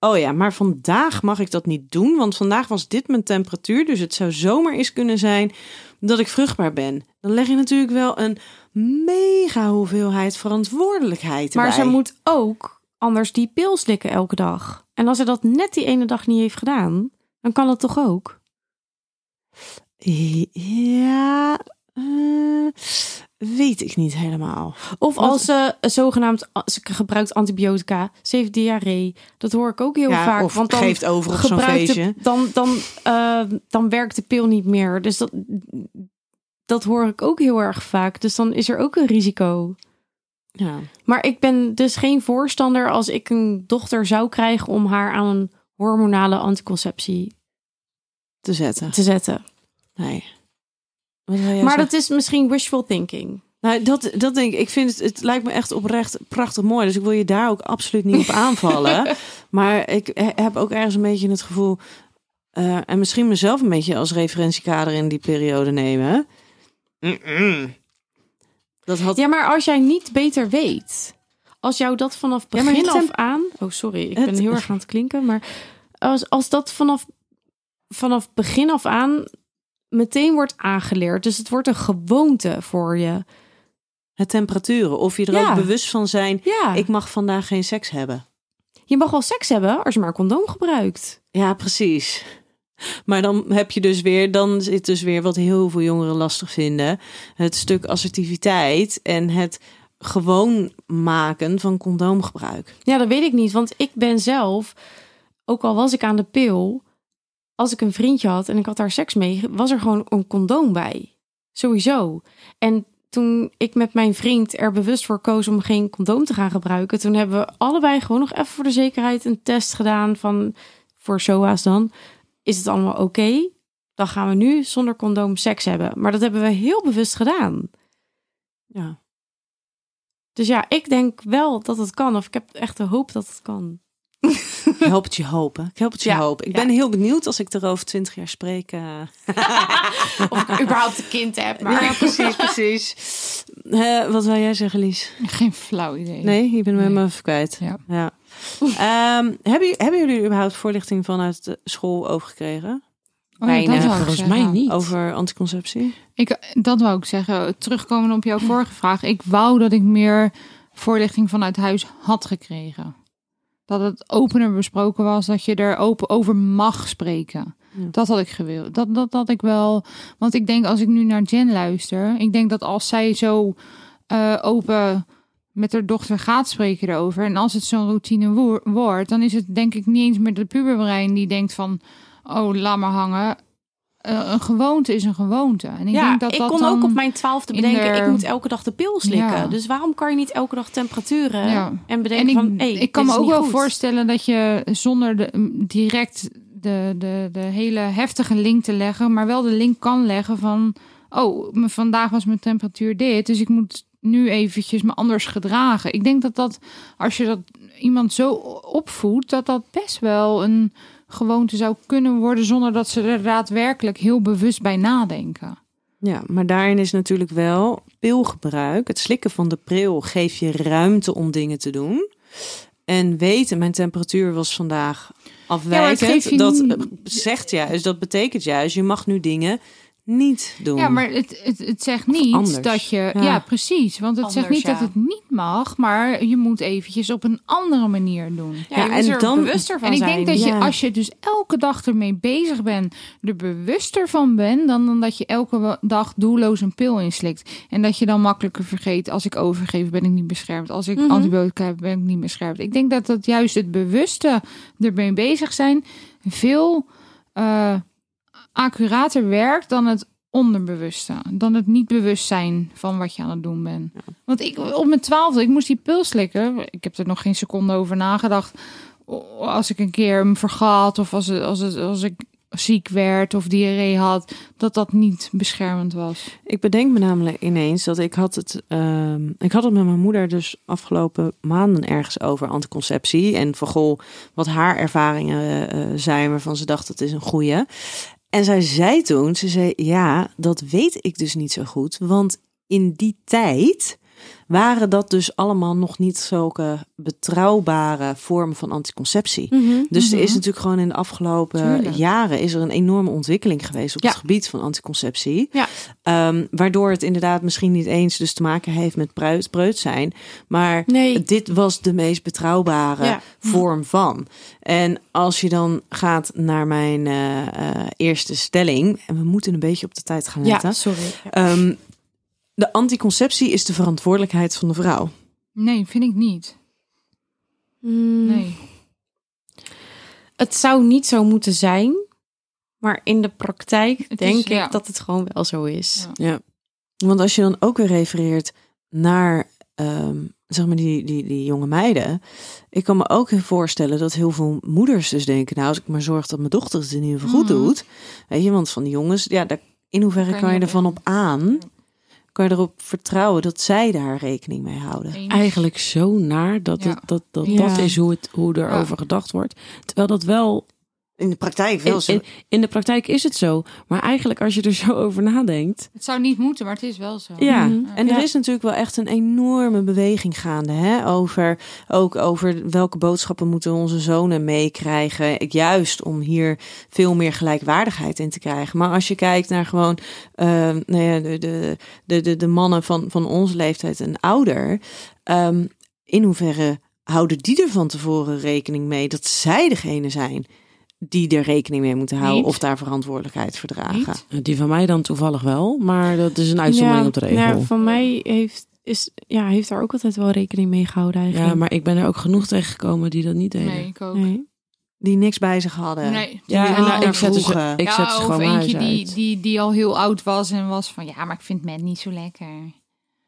Speaker 4: Oh ja, maar vandaag mag ik dat niet doen, want vandaag was dit mijn temperatuur. Dus het zou zomaar eens kunnen zijn dat ik vruchtbaar ben. Dan leg je natuurlijk wel een mega hoeveelheid verantwoordelijkheid
Speaker 1: Maar
Speaker 4: bij.
Speaker 1: ze moet ook anders die pil slikken elke dag. En als ze dat net die ene dag niet heeft gedaan, dan kan dat toch ook?
Speaker 4: Ja, eh, weet ik niet helemaal.
Speaker 1: Of
Speaker 4: Want-
Speaker 1: als ze zogenaamd ze gebruikt antibiotica, ze heeft diarree. Dat hoor ik ook heel
Speaker 4: ja,
Speaker 1: vaak.
Speaker 4: of
Speaker 1: want dan
Speaker 4: geeft over op zo'n
Speaker 1: gebruikt de-
Speaker 4: feestje.
Speaker 1: dan, dan, eh, dan werkt de pil niet meer. Dus dat, dat hoor ik ook heel erg vaak. Dus dan is er ook een risico.
Speaker 4: Ja.
Speaker 1: Maar ik ben dus geen voorstander als ik een dochter zou krijgen om haar aan een hormonale anticonceptie
Speaker 4: te zetten.
Speaker 1: te zetten.
Speaker 4: Nee. Wat wil jij
Speaker 1: maar
Speaker 4: zeggen?
Speaker 1: dat is misschien wishful thinking.
Speaker 4: Nou, dat, dat denk ik. Ik vind het, het lijkt me echt oprecht prachtig mooi. Dus ik wil je daar ook absoluut niet op aanvallen. maar ik he- heb ook ergens een beetje het gevoel. eh, en misschien mezelf een beetje als referentiekader in die periode nemen. Mm-mm. Dat had.
Speaker 1: Ja, maar als jij niet beter weet, als jou dat vanaf
Speaker 4: Ja, maar
Speaker 1: begin
Speaker 4: het
Speaker 1: af
Speaker 4: zijn-
Speaker 1: aan. Oh, sorry, ik
Speaker 4: Het-
Speaker 1: ben heel erg aan het klinken. Maar als, als dat vanaf, vanaf begin af aan meteen wordt aangeleerd. Dus het wordt een gewoonte voor je.
Speaker 4: Het temperaturen. Of je er
Speaker 1: Ja.
Speaker 4: ook bewust van zijn.
Speaker 1: Ja,
Speaker 4: Ik mag vandaag geen seks hebben.
Speaker 1: je mag wel seks hebben als je maar een condoom gebruikt.
Speaker 4: Ja, precies. Maar dan heb je dus weer, dan zit dus weer wat heel veel jongeren lastig vinden. Het stuk assertiviteit en het gewoon maken van condoomgebruik.
Speaker 1: Ja, dat weet ik niet, want ik ben zelf, ook al was ik aan de pil, als ik een vriendje had en ik had daar seks mee, was er gewoon een condoom bij. Sowieso. En toen ik met mijn vriend er bewust voor koos om geen condoom te gaan gebruiken, toen hebben we allebei gewoon nog even voor de zekerheid een test gedaan van voor SOA's dan. Is het allemaal oké? Dan gaan we nu zonder condoom seks hebben. Maar dat hebben we heel bewust gedaan.
Speaker 4: Ja.
Speaker 1: Dus ja, ik denk wel dat het kan. Of ik heb echt de hoop dat het kan.
Speaker 4: Ik help het je hopen. Ik help het je
Speaker 1: Ja,
Speaker 4: hopen. Ik
Speaker 1: ja.
Speaker 4: ben heel benieuwd als ik er over twintig jaar spreek. eh.
Speaker 1: Of ik überhaupt een kind heb. Maar...
Speaker 4: Ja, precies, precies. Eh, wat wil jij zeggen, Lies?
Speaker 3: Geen flauw idee.
Speaker 4: Nee, je bent me
Speaker 3: Nee.
Speaker 4: helemaal even kwijt.
Speaker 3: Ja.
Speaker 4: Ja. Ehm, hebben, hebben jullie überhaupt voorlichting vanuit de school overgekregen?
Speaker 3: Oh, ja,
Speaker 2: Bijna.
Speaker 3: dat wou ik
Speaker 2: Volgens
Speaker 3: zeggen.
Speaker 2: mij niet.
Speaker 4: Over anticonceptie?
Speaker 3: Ik, dat wou ik zeggen. Terugkomen op jouw vorige vraag. Ik wou dat ik meer voorlichting vanuit huis had gekregen. Dat het opener besproken was. Dat je er open over mag spreken.
Speaker 4: Ja.
Speaker 3: Dat had ik gewild. Dat, dat had ik wel. Want ik denk als ik nu naar Jen luister. Ik denk dat als zij zo eh, open met haar dochter gaat spreken erover. En als het zo'n routine woer- wordt. Dan is het denk ik niet eens meer de puberbrein die denkt van... Oh, laat maar hangen. Eh, een gewoonte is een gewoonte. En ik
Speaker 1: ja,
Speaker 3: denk dat
Speaker 1: ik
Speaker 3: dat
Speaker 1: kon
Speaker 3: dan...
Speaker 1: ook op mijn twaalfde
Speaker 3: in
Speaker 1: bedenken,
Speaker 3: de-
Speaker 1: ik moet elke dag de pil slikken.
Speaker 3: Ja.
Speaker 1: Dus waarom kan je niet elke dag temperaturen
Speaker 3: Ja.
Speaker 1: en bedenken
Speaker 3: En ik,
Speaker 1: van, hey,
Speaker 3: ik kan
Speaker 1: dit
Speaker 3: me ook
Speaker 1: is niet
Speaker 3: wel
Speaker 1: goed.
Speaker 3: voorstellen dat je zonder de, m, direct de, de, de hele heftige link te leggen, maar wel de link kan leggen van: oh, m- vandaag was mijn temperatuur dit, dus ik moet nu eventjes me anders gedragen. Ik denk dat dat, als je dat iemand zo opvoedt, dat dat best wel een gewoonte zou kunnen worden zonder dat ze er daadwerkelijk heel bewust bij nadenken.
Speaker 4: Ja, maar daarin is natuurlijk wel pilgebruik. Het slikken van de pril geeft je ruimte om dingen te doen. En weten, mijn temperatuur was vandaag
Speaker 3: maar het
Speaker 4: afwijkend.
Speaker 3: geeft je
Speaker 4: dat
Speaker 3: niet-
Speaker 4: eh, zegt juist, dat betekent juist, je mag nu dingen niet doen.
Speaker 3: Ja, maar het, het, het zegt niet
Speaker 2: anders.
Speaker 3: dat je.
Speaker 2: Ja.
Speaker 3: Ja, precies. Want het zegt
Speaker 1: Anders,
Speaker 3: niet dat
Speaker 1: ja.
Speaker 3: het niet mag, maar je moet eventjes op een andere manier doen.
Speaker 1: Ja, je
Speaker 4: Ja,
Speaker 1: moet
Speaker 3: dus
Speaker 4: en
Speaker 1: er
Speaker 4: dan-
Speaker 1: bewuster van
Speaker 3: en ik
Speaker 1: zijn.
Speaker 3: denk dat je,
Speaker 4: ja.
Speaker 3: als je dus elke dag ermee bezig bent, er bewuster van bent, dan, dan dat je elke wa- dag doelloos een pil inslikt. En dat je dan makkelijker vergeet, als ik overgeef ben ik niet beschermd. Als ik
Speaker 1: Mhm.
Speaker 3: antibiotica heb, ben ik niet beschermd. Ik denk dat dat juist het bewuste ermee bezig zijn veel eh, accurater werkt dan het onderbewuste. Dan het niet bewust zijn van wat je aan het doen bent. Want ik op mijn twaalfde, ik moest die pil slikken. Ik heb er nog geen seconde over nagedacht. O- Als ik een keer hem vergat of als, het- als, het, als ik ziek werd of diarree had, dat dat niet beschermend was.
Speaker 4: Ik bedenk me namelijk ineens dat ik had het, ehm, ik had het met mijn moeder dus afgelopen maanden ergens over anticonceptie en van goh, wat haar ervaringen eh, eh, zijn waarvan ze dacht dat is een goeie. En zij zei toen, ze zei ja, dat weet ik dus niet zo goed, want in die tijd waren dat dus allemaal nog niet zulke betrouwbare vormen van anticonceptie.
Speaker 1: Mhm.
Speaker 4: Dus er is
Speaker 3: Mhm.
Speaker 4: natuurlijk gewoon in de afgelopen
Speaker 3: Tuurlijk.
Speaker 4: jaren is er een enorme ontwikkeling geweest op
Speaker 1: Ja.
Speaker 4: het gebied van anticonceptie.
Speaker 1: Ja.
Speaker 4: Ehm, waardoor het inderdaad misschien niet eens dus te maken heeft met bruid, breut zijn. Maar
Speaker 1: Nee.
Speaker 4: dit was de meest betrouwbare
Speaker 1: Ja.
Speaker 4: vorm van. En als je dan gaat naar mijn eh, eh, eerste stelling. En we moeten een beetje op de tijd gaan letten.
Speaker 1: Ja, sorry. Ja.
Speaker 4: Ehm, de anticonceptie is de verantwoordelijkheid van de vrouw.
Speaker 3: Nee, vind ik niet.
Speaker 2: Mm.
Speaker 3: Nee.
Speaker 1: Mm, Het zou niet zo moeten zijn, maar in de praktijk
Speaker 3: is,
Speaker 1: denk ik
Speaker 3: ja.
Speaker 1: dat het gewoon wel zo is.
Speaker 3: Ja.
Speaker 4: Want als je dan ook weer refereert naar ehm, zeg maar die, die, die jonge meiden. Ik kan me ook voorstellen dat heel veel moeders dus denken... nou, als ik maar zorg dat mijn dochter het in ieder geval goed
Speaker 3: Mhm.
Speaker 4: doet. Weet je, want van die jongens, ja, daar, in hoeverre
Speaker 3: Kan
Speaker 4: kan, je
Speaker 3: je
Speaker 4: ervan
Speaker 3: wel.
Speaker 4: op aan? Kan je erop vertrouwen dat zij daar rekening mee houden?
Speaker 3: Eens.
Speaker 2: Eigenlijk zo naar dat
Speaker 3: Ja.
Speaker 2: het- dat, dat,
Speaker 1: Ja.
Speaker 2: dat is hoe, het, hoe erover gedacht wordt. Terwijl dat wel
Speaker 4: In de praktijk
Speaker 2: in, in, in de praktijk is het zo. Maar eigenlijk als je er zo over nadenkt.
Speaker 3: Het zou niet moeten, maar het is wel zo.
Speaker 2: Ja.
Speaker 1: Mhm.
Speaker 4: En
Speaker 2: Ja.
Speaker 4: er is natuurlijk wel echt een enorme beweging gaande. Hè? Over, ook over welke boodschappen moeten onze zonen meekrijgen. Juist om hier veel meer gelijkwaardigheid in te krijgen. Maar als je kijkt naar gewoon eh, nou ja, de, de, de, de, de mannen van, van onze leeftijd en ouder. ehm, in hoeverre houden die er van tevoren rekening mee dat zij degene zijn die er rekening mee moeten houden
Speaker 3: Niet.
Speaker 4: of daar verantwoordelijkheid voor dragen?
Speaker 3: Niet?
Speaker 2: Die van mij dan toevallig wel. Maar dat is een uitzondering
Speaker 1: Ja,
Speaker 2: op de regel.
Speaker 1: nou, van mij heeft, is, ja, heeft daar ook altijd wel rekening mee gehouden eigenlijk.
Speaker 2: Ja, maar ik ben er ook genoeg tegengekomen die dat niet deden.
Speaker 3: Nee, ik ook.
Speaker 1: Nee.
Speaker 4: Die niks bij zich hadden.
Speaker 3: Nee.
Speaker 2: Ja,
Speaker 4: Die
Speaker 2: en nou,
Speaker 4: naar
Speaker 2: ik zet ze,
Speaker 4: vroegen.
Speaker 2: ik
Speaker 3: ja,
Speaker 2: zet ze
Speaker 3: of
Speaker 2: gewoon mijn
Speaker 3: eentje
Speaker 2: huis uit.
Speaker 3: die, die, die al heel oud was en was van ja, maar ik vind men niet zo lekker.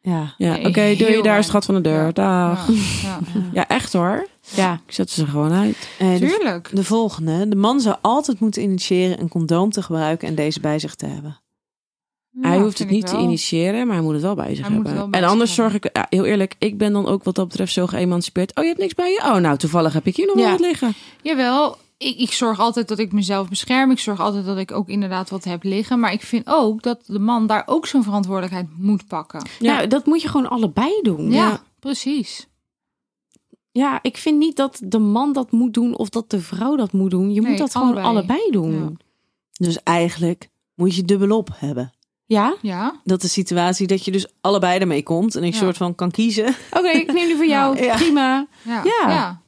Speaker 4: Ja.
Speaker 2: Ja,
Speaker 3: Nee,
Speaker 2: oké, doe je
Speaker 3: heel
Speaker 2: daar
Speaker 3: weinig.
Speaker 2: schat van de deur.
Speaker 3: Ja.
Speaker 2: Dag.
Speaker 3: Ja, ja.
Speaker 2: Oh. Ja, echt hoor.
Speaker 1: Ja,
Speaker 2: Ik zet ze er gewoon uit.
Speaker 4: Eh, de
Speaker 3: Tuurlijk.
Speaker 4: De volgende. De man zou altijd moeten initiëren een condoom te gebruiken en deze bij zich te hebben.
Speaker 2: hij
Speaker 3: Ja,
Speaker 2: hoeft
Speaker 3: vind
Speaker 2: het
Speaker 3: ik
Speaker 2: niet te
Speaker 3: wel.
Speaker 2: initiëren, maar hij moet het wel bij zich
Speaker 3: Hij moet het
Speaker 2: hebben.
Speaker 3: wel bij
Speaker 2: en
Speaker 3: zich
Speaker 2: anders zorg
Speaker 3: hebben.
Speaker 2: ik, ja, heel eerlijk, ik ben dan ook wat dat betreft zo geëmancipeerd. Oh, je hebt niks bij je? Oh, nou, toevallig heb ik hier nog wel
Speaker 1: Ja.
Speaker 2: wat liggen.
Speaker 3: Jawel, ik, ik zorg altijd dat ik mezelf bescherm. Ik zorg altijd dat ik ook inderdaad wat heb liggen. Maar ik vind ook dat de man daar ook zijn verantwoordelijkheid moet pakken.
Speaker 2: Ja.
Speaker 1: Nou, dat moet je gewoon allebei doen.
Speaker 3: Ja, precies.
Speaker 1: Ja, ik vind niet dat de man dat moet doen of dat de vrouw dat moet doen. Je
Speaker 3: Nee,
Speaker 1: moet dat gewoon
Speaker 3: allebei.
Speaker 1: allebei
Speaker 3: Ja.
Speaker 1: doen.
Speaker 4: Dus eigenlijk moet je dubbelop hebben.
Speaker 1: Ja?
Speaker 3: Ja,
Speaker 4: Dat de situatie dat je dus allebei ermee komt en ik
Speaker 3: Ja.
Speaker 4: soort van kan kiezen.
Speaker 1: Oké, ik neem die voor jou.
Speaker 4: Ja.
Speaker 1: Prima.
Speaker 3: ja,
Speaker 1: Ja.
Speaker 3: ja.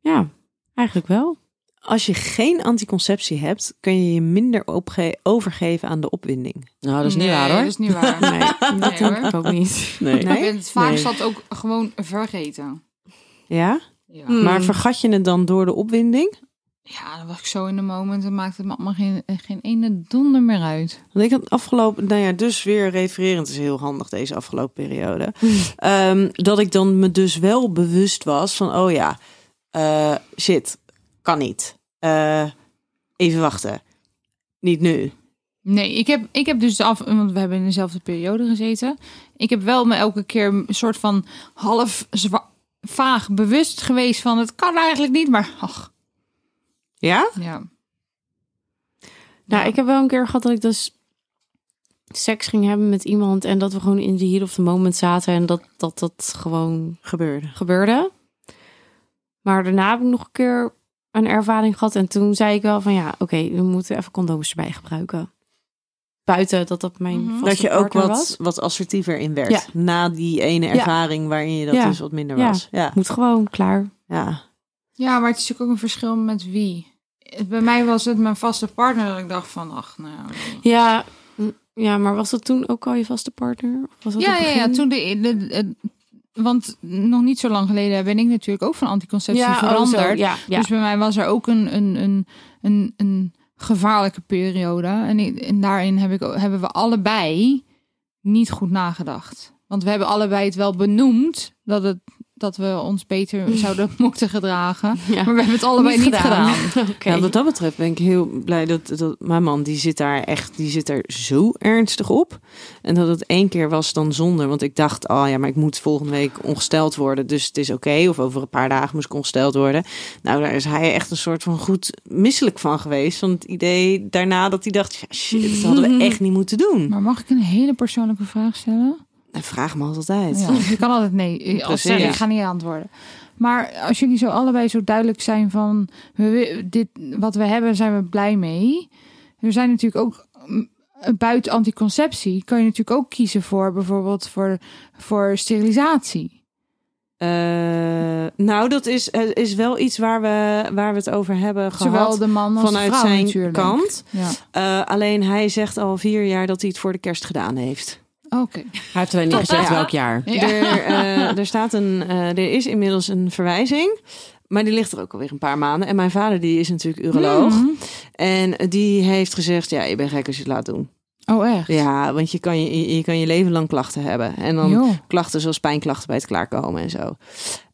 Speaker 1: Ja, eigenlijk wel.
Speaker 4: Als je geen anticonceptie hebt, kun je je minder opge- overgeven aan de opwinding.
Speaker 2: Nou, dat is niet
Speaker 3: Nee,
Speaker 2: waar
Speaker 3: Dat
Speaker 2: hoor.
Speaker 3: is niet waar.
Speaker 1: Nee, dat
Speaker 3: Nee,
Speaker 1: denk ik ook niet.
Speaker 2: Nee.
Speaker 3: Ik ben het vaak
Speaker 2: Nee.
Speaker 3: zat ook gewoon vergeten.
Speaker 4: Ja?
Speaker 3: Ja.
Speaker 1: Hmm.
Speaker 4: Maar vergat je het dan door de opwinding?
Speaker 3: ja, dan was ik zo in de moment en maakte het me allemaal geen, geen ene donder meer uit.
Speaker 4: Want ik had afgelopen, nou ja, dus weer refererend is heel handig deze afgelopen periode. Ehm, dat ik dan me dus wel bewust was van, oh ja, eh, shit, kan niet. Eh, even wachten. Niet nu.
Speaker 3: Nee, ik heb, ik heb dus af, want we hebben in dezelfde periode gezeten. Ik heb wel me elke keer een soort van half zwa- vaag bewust geweest van het kan eigenlijk niet, maar ach,
Speaker 4: Ja?
Speaker 3: ja.
Speaker 1: Nou, ik heb wel een keer gehad dat ik dus seks ging hebben met iemand en dat we gewoon in de hier of the moment zaten en dat dat, dat gewoon
Speaker 4: Gebeurde.
Speaker 1: gebeurde. Maar daarna heb ik nog een keer een ervaring gehad en toen zei ik wel van ja, oké, we moeten even condooms erbij gebruiken. buiten dat dat mijn
Speaker 3: Mhm.
Speaker 1: vaste
Speaker 4: Dat je ook
Speaker 1: partner
Speaker 4: wat,
Speaker 1: was.
Speaker 4: wat assertiever in werd.
Speaker 1: Ja.
Speaker 4: Na die ene
Speaker 1: Ja.
Speaker 4: ervaring waarin je dat
Speaker 1: Ja.
Speaker 4: dus wat minder
Speaker 1: Ja.
Speaker 4: was. Ja.
Speaker 1: Moet gewoon, klaar.
Speaker 4: ja.
Speaker 3: Ja, maar het is natuurlijk ook een verschil met wie. Het- Bij mij was het mijn vaste partner dat ik dacht van, ach, nou...
Speaker 1: Ja, m- Hm, ja, maar was dat toen ook al je vaste partner? Of was dat
Speaker 3: Ja,
Speaker 1: op
Speaker 3: ja,
Speaker 1: het
Speaker 3: ja,
Speaker 1: begin?
Speaker 3: toen de, de- de- want nog niet zo lang geleden ben ik natuurlijk ook van anticonceptie
Speaker 1: ja, oh, zo,
Speaker 3: veranderd.
Speaker 1: ja, ja.
Speaker 3: Dus bij mij was er ook een, een, een, een, een gevaarlijke periode. En, ik- en daarin heb ik, hebben we allebei niet goed nagedacht. Want we hebben allebei het wel benoemd dat, het, dat we ons beter zouden moeten gedragen.
Speaker 1: Ja.
Speaker 3: Maar we hebben het allebei niet, gedaan.
Speaker 1: Oké.
Speaker 4: Ja, Nou, wat dat betreft ben ik heel blij dat, dat mijn man, die zit daar echt, die zit er zo ernstig op. En dat het één keer was dan zonder. Want ik dacht, oh ja, maar ik moet volgende week ongesteld worden. Dus het is oké. Of over een paar dagen moest ik ongesteld worden. Nou, daar is hij echt een soort van goed misselijk van geweest. Van het idee daarna dat hij dacht, ja, shit, dat hadden we echt niet moeten doen.
Speaker 3: Maar mag ik een hele persoonlijke vraag stellen?
Speaker 4: En vraag me altijd uit.
Speaker 3: Ja, je kan altijd nee. eh, Als
Speaker 4: Precies.
Speaker 3: zeggen, ik ga niet antwoorden. Maar als jullie zo allebei zo duidelijk zijn van we, wi- dit, wat we hebben, zijn we blij mee. Er zijn natuurlijk ook mm, buiten anticonceptie kan je natuurlijk ook kiezen voor bijvoorbeeld voor, voor sterilisatie.
Speaker 4: Eh, nou, dat is, eh, is wel iets waar we, waar we het over hebben gehad.
Speaker 3: Zowel de man als
Speaker 4: vanuit
Speaker 3: de vrouw
Speaker 4: zijn
Speaker 3: natuurlijk.
Speaker 4: kant.
Speaker 3: Ja.
Speaker 4: Eh, alleen hij zegt al vier jaar dat hij het voor de kerst gedaan heeft.
Speaker 3: Oké.
Speaker 2: Hij heeft alleen niet gezegd welk jaar.
Speaker 3: Ja.
Speaker 4: Er, eh, er, staat een, eh, er is inmiddels een verwijzing. Maar die ligt er ook alweer een paar maanden. En mijn vader die is natuurlijk uroloog.
Speaker 3: Hmm.
Speaker 4: En die heeft gezegd, ja, je bent gek als je het laat doen.
Speaker 3: Oh echt?
Speaker 4: Ja, want je kan je, je, je kan je leven lang klachten hebben. En dan
Speaker 3: Joh.
Speaker 4: klachten zoals pijnklachten bij het klaarkomen en zo.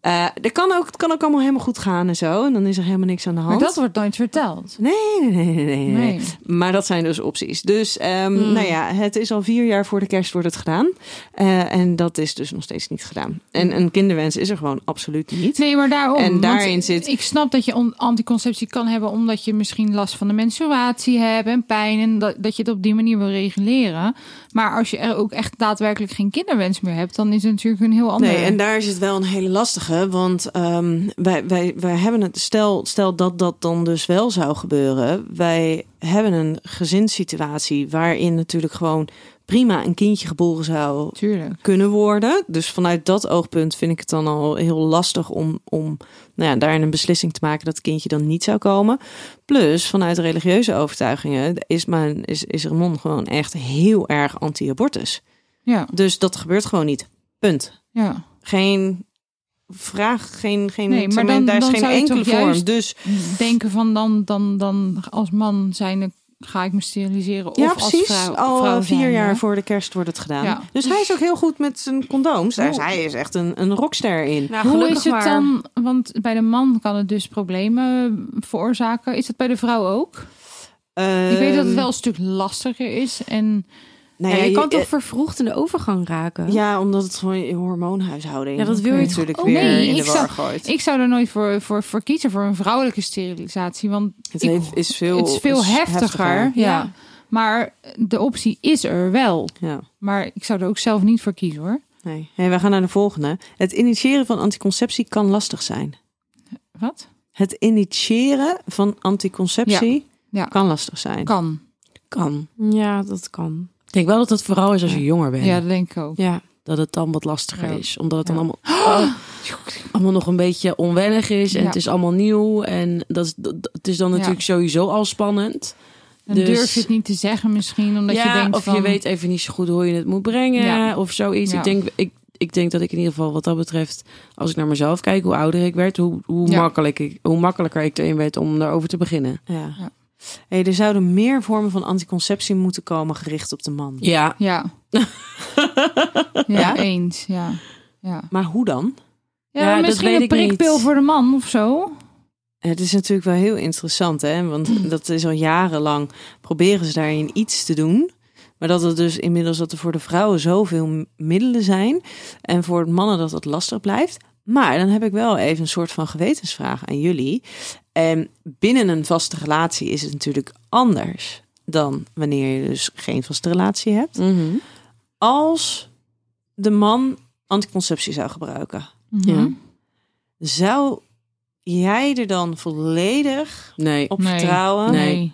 Speaker 4: Eh er kan ook, het kan ook allemaal helemaal goed gaan en zo. En dan is er helemaal niks aan de
Speaker 3: Maar
Speaker 4: hand.
Speaker 3: dat wordt nooit verteld.
Speaker 4: Nee, nee, nee, nee, nee, nee.
Speaker 3: Nee.
Speaker 4: Maar dat zijn dus opties. Dus ehm, nou ja, het is al vier jaar voor de kerst wordt het gedaan. Eh, en dat is dus nog steeds niet gedaan. En een kinderwens is er gewoon absoluut niet.
Speaker 3: Nee, maar daarom.
Speaker 4: En
Speaker 3: want
Speaker 4: daarin zit-
Speaker 3: Ik snap dat je on- anticonceptie kan hebben omdat je misschien last van de menstruatie hebt en pijn en dat, dat je het op die manier wil reguleren. Maar als je er ook echt daadwerkelijk geen kinderwens meer hebt, dan is het natuurlijk een heel ander.
Speaker 4: Nee, en daar is het wel een hele lastige. Want ehm, wij, wij, wij hebben het, stel, stel dat dat dan dus wel zou gebeuren. Wij hebben een gezinssituatie waarin natuurlijk gewoon prima een kindje geboren zou
Speaker 3: Tuurlijk.
Speaker 4: kunnen worden. Dus vanuit dat oogpunt vind ik het dan al heel lastig om, om nou ja, daarin een beslissing te maken dat het kindje dan niet zou komen. Plus, vanuit religieuze overtuigingen is, mijn, is, is Ramon gewoon echt heel erg anti-abortus.
Speaker 3: Ja,
Speaker 4: Dus dat gebeurt gewoon niet. Punt.
Speaker 3: ja.
Speaker 4: Geen vraag, geen, geen
Speaker 3: Nee, maar
Speaker 4: zeg
Speaker 3: dan-
Speaker 4: daar is
Speaker 3: dan
Speaker 4: geen
Speaker 3: zou je
Speaker 4: enkele
Speaker 3: toch
Speaker 4: vorm.
Speaker 3: juist-
Speaker 4: Dus
Speaker 3: Denken van dan, dan, dan als man zijn ga ik me steriliseren
Speaker 4: ja,
Speaker 3: of
Speaker 4: precies.
Speaker 3: als vrouw.
Speaker 4: Al
Speaker 3: vrouw
Speaker 4: eh, vier
Speaker 3: zijnde.
Speaker 4: jaar voor de kerst wordt het gedaan.
Speaker 3: Ja.
Speaker 4: Dus hij is ook heel goed met zijn condooms. Daar is,
Speaker 3: Oh.
Speaker 4: hij is echt een, een rockster in.
Speaker 1: Nou,
Speaker 3: Hoe
Speaker 1: gelukkig
Speaker 3: is het
Speaker 1: maar.
Speaker 3: dan? Want bij de man kan het dus problemen veroorzaken. Is dat bij de vrouw ook? Ik weet dat het
Speaker 4: Ehm,
Speaker 3: wel een stuk lastiger is. En
Speaker 4: Nou
Speaker 1: Ja, je kan
Speaker 4: eh,
Speaker 1: toch vervroegd in de overgang
Speaker 3: Oh.
Speaker 1: raken?
Speaker 4: Ja, omdat het gewoon je hormoonhuishouding
Speaker 1: Ja, dat wil
Speaker 3: Oké.
Speaker 1: je toch
Speaker 4: natuurlijk
Speaker 1: ook
Speaker 4: weer
Speaker 3: Oh, nee,
Speaker 4: in de
Speaker 3: ik
Speaker 4: war
Speaker 3: zou-
Speaker 4: gooit.
Speaker 3: ik zou er nooit voor, voor, voor kiezen voor een vrouwelijke sterilisatie. Want
Speaker 4: het
Speaker 3: ik-
Speaker 4: heeft- is veel,
Speaker 3: het is veel
Speaker 4: is
Speaker 3: heftiger. Ja.
Speaker 1: Ja.
Speaker 3: Maar de optie is er wel.
Speaker 4: Ja.
Speaker 3: Maar ik zou er ook zelf niet voor kiezen hoor.
Speaker 4: Nee. Hey, we gaan naar de volgende. Het initiëren van anticonceptie kan lastig zijn.
Speaker 3: Wat?
Speaker 4: Het initiëren van anticonceptie
Speaker 3: Ja. Ja.
Speaker 4: kan lastig zijn.
Speaker 3: Kan.
Speaker 2: Kan.
Speaker 1: Ja, dat kan.
Speaker 2: Ik denk wel dat het vooral is als je jonger bent.
Speaker 3: Ja, dat denk ik ook.
Speaker 1: Ja.
Speaker 2: Dat het dan wat lastiger
Speaker 3: Ja.
Speaker 2: is. Omdat het dan
Speaker 3: Ja.
Speaker 2: allemaal, oh, allemaal nog een beetje onwennig is. En
Speaker 3: Ja.
Speaker 2: het is allemaal nieuw. En dat, is- dat- dat- het is dan natuurlijk sowieso al spannend.
Speaker 3: Dan
Speaker 2: Dus-
Speaker 3: durf je het niet te zeggen misschien. Omdat
Speaker 2: ja,
Speaker 3: je denkt
Speaker 2: of
Speaker 3: van...
Speaker 2: je weet even niet zo goed hoe je het moet brengen.
Speaker 3: Ja.
Speaker 2: Of zoiets.
Speaker 3: Ja.
Speaker 2: Ik, denk, ik, ik denk dat ik in ieder geval wat dat betreft... Als ik naar mezelf kijk, hoe ouder ik werd... hoe, hoe,
Speaker 3: Ja.
Speaker 2: makkelijk ik, hoe makkelijker ik erin werd om daarover te beginnen.
Speaker 4: Ja.
Speaker 3: Ja.
Speaker 4: Hey, er zouden meer vormen van anticonceptie moeten komen gericht op de man.
Speaker 2: Ja,
Speaker 3: Ja. ja. eens. Ja. Ja.
Speaker 4: Maar hoe dan?
Speaker 3: Ja,
Speaker 2: Ja, dat
Speaker 3: misschien
Speaker 2: weet
Speaker 3: een
Speaker 2: ik niet.
Speaker 3: prikpil voor de man of zo.
Speaker 4: Het is natuurlijk wel heel interessant, hè? Want dat is al jarenlang proberen ze daarin iets te doen. Maar dat het dus inmiddels dat er voor de vrouwen zoveel m- middelen zijn. En voor de mannen dat dat lastig blijft. Maar dan heb ik wel even een soort van gewetensvraag aan jullie. En binnen een vaste relatie is het natuurlijk anders dan wanneer je dus geen vaste relatie hebt.
Speaker 2: Mhm.
Speaker 4: Als de man anticonceptie zou gebruiken,
Speaker 3: Mhm.
Speaker 4: zou jij er dan volledig
Speaker 2: nee.
Speaker 4: op
Speaker 3: Oh, Nee.
Speaker 4: vertrouwen?
Speaker 2: Nee.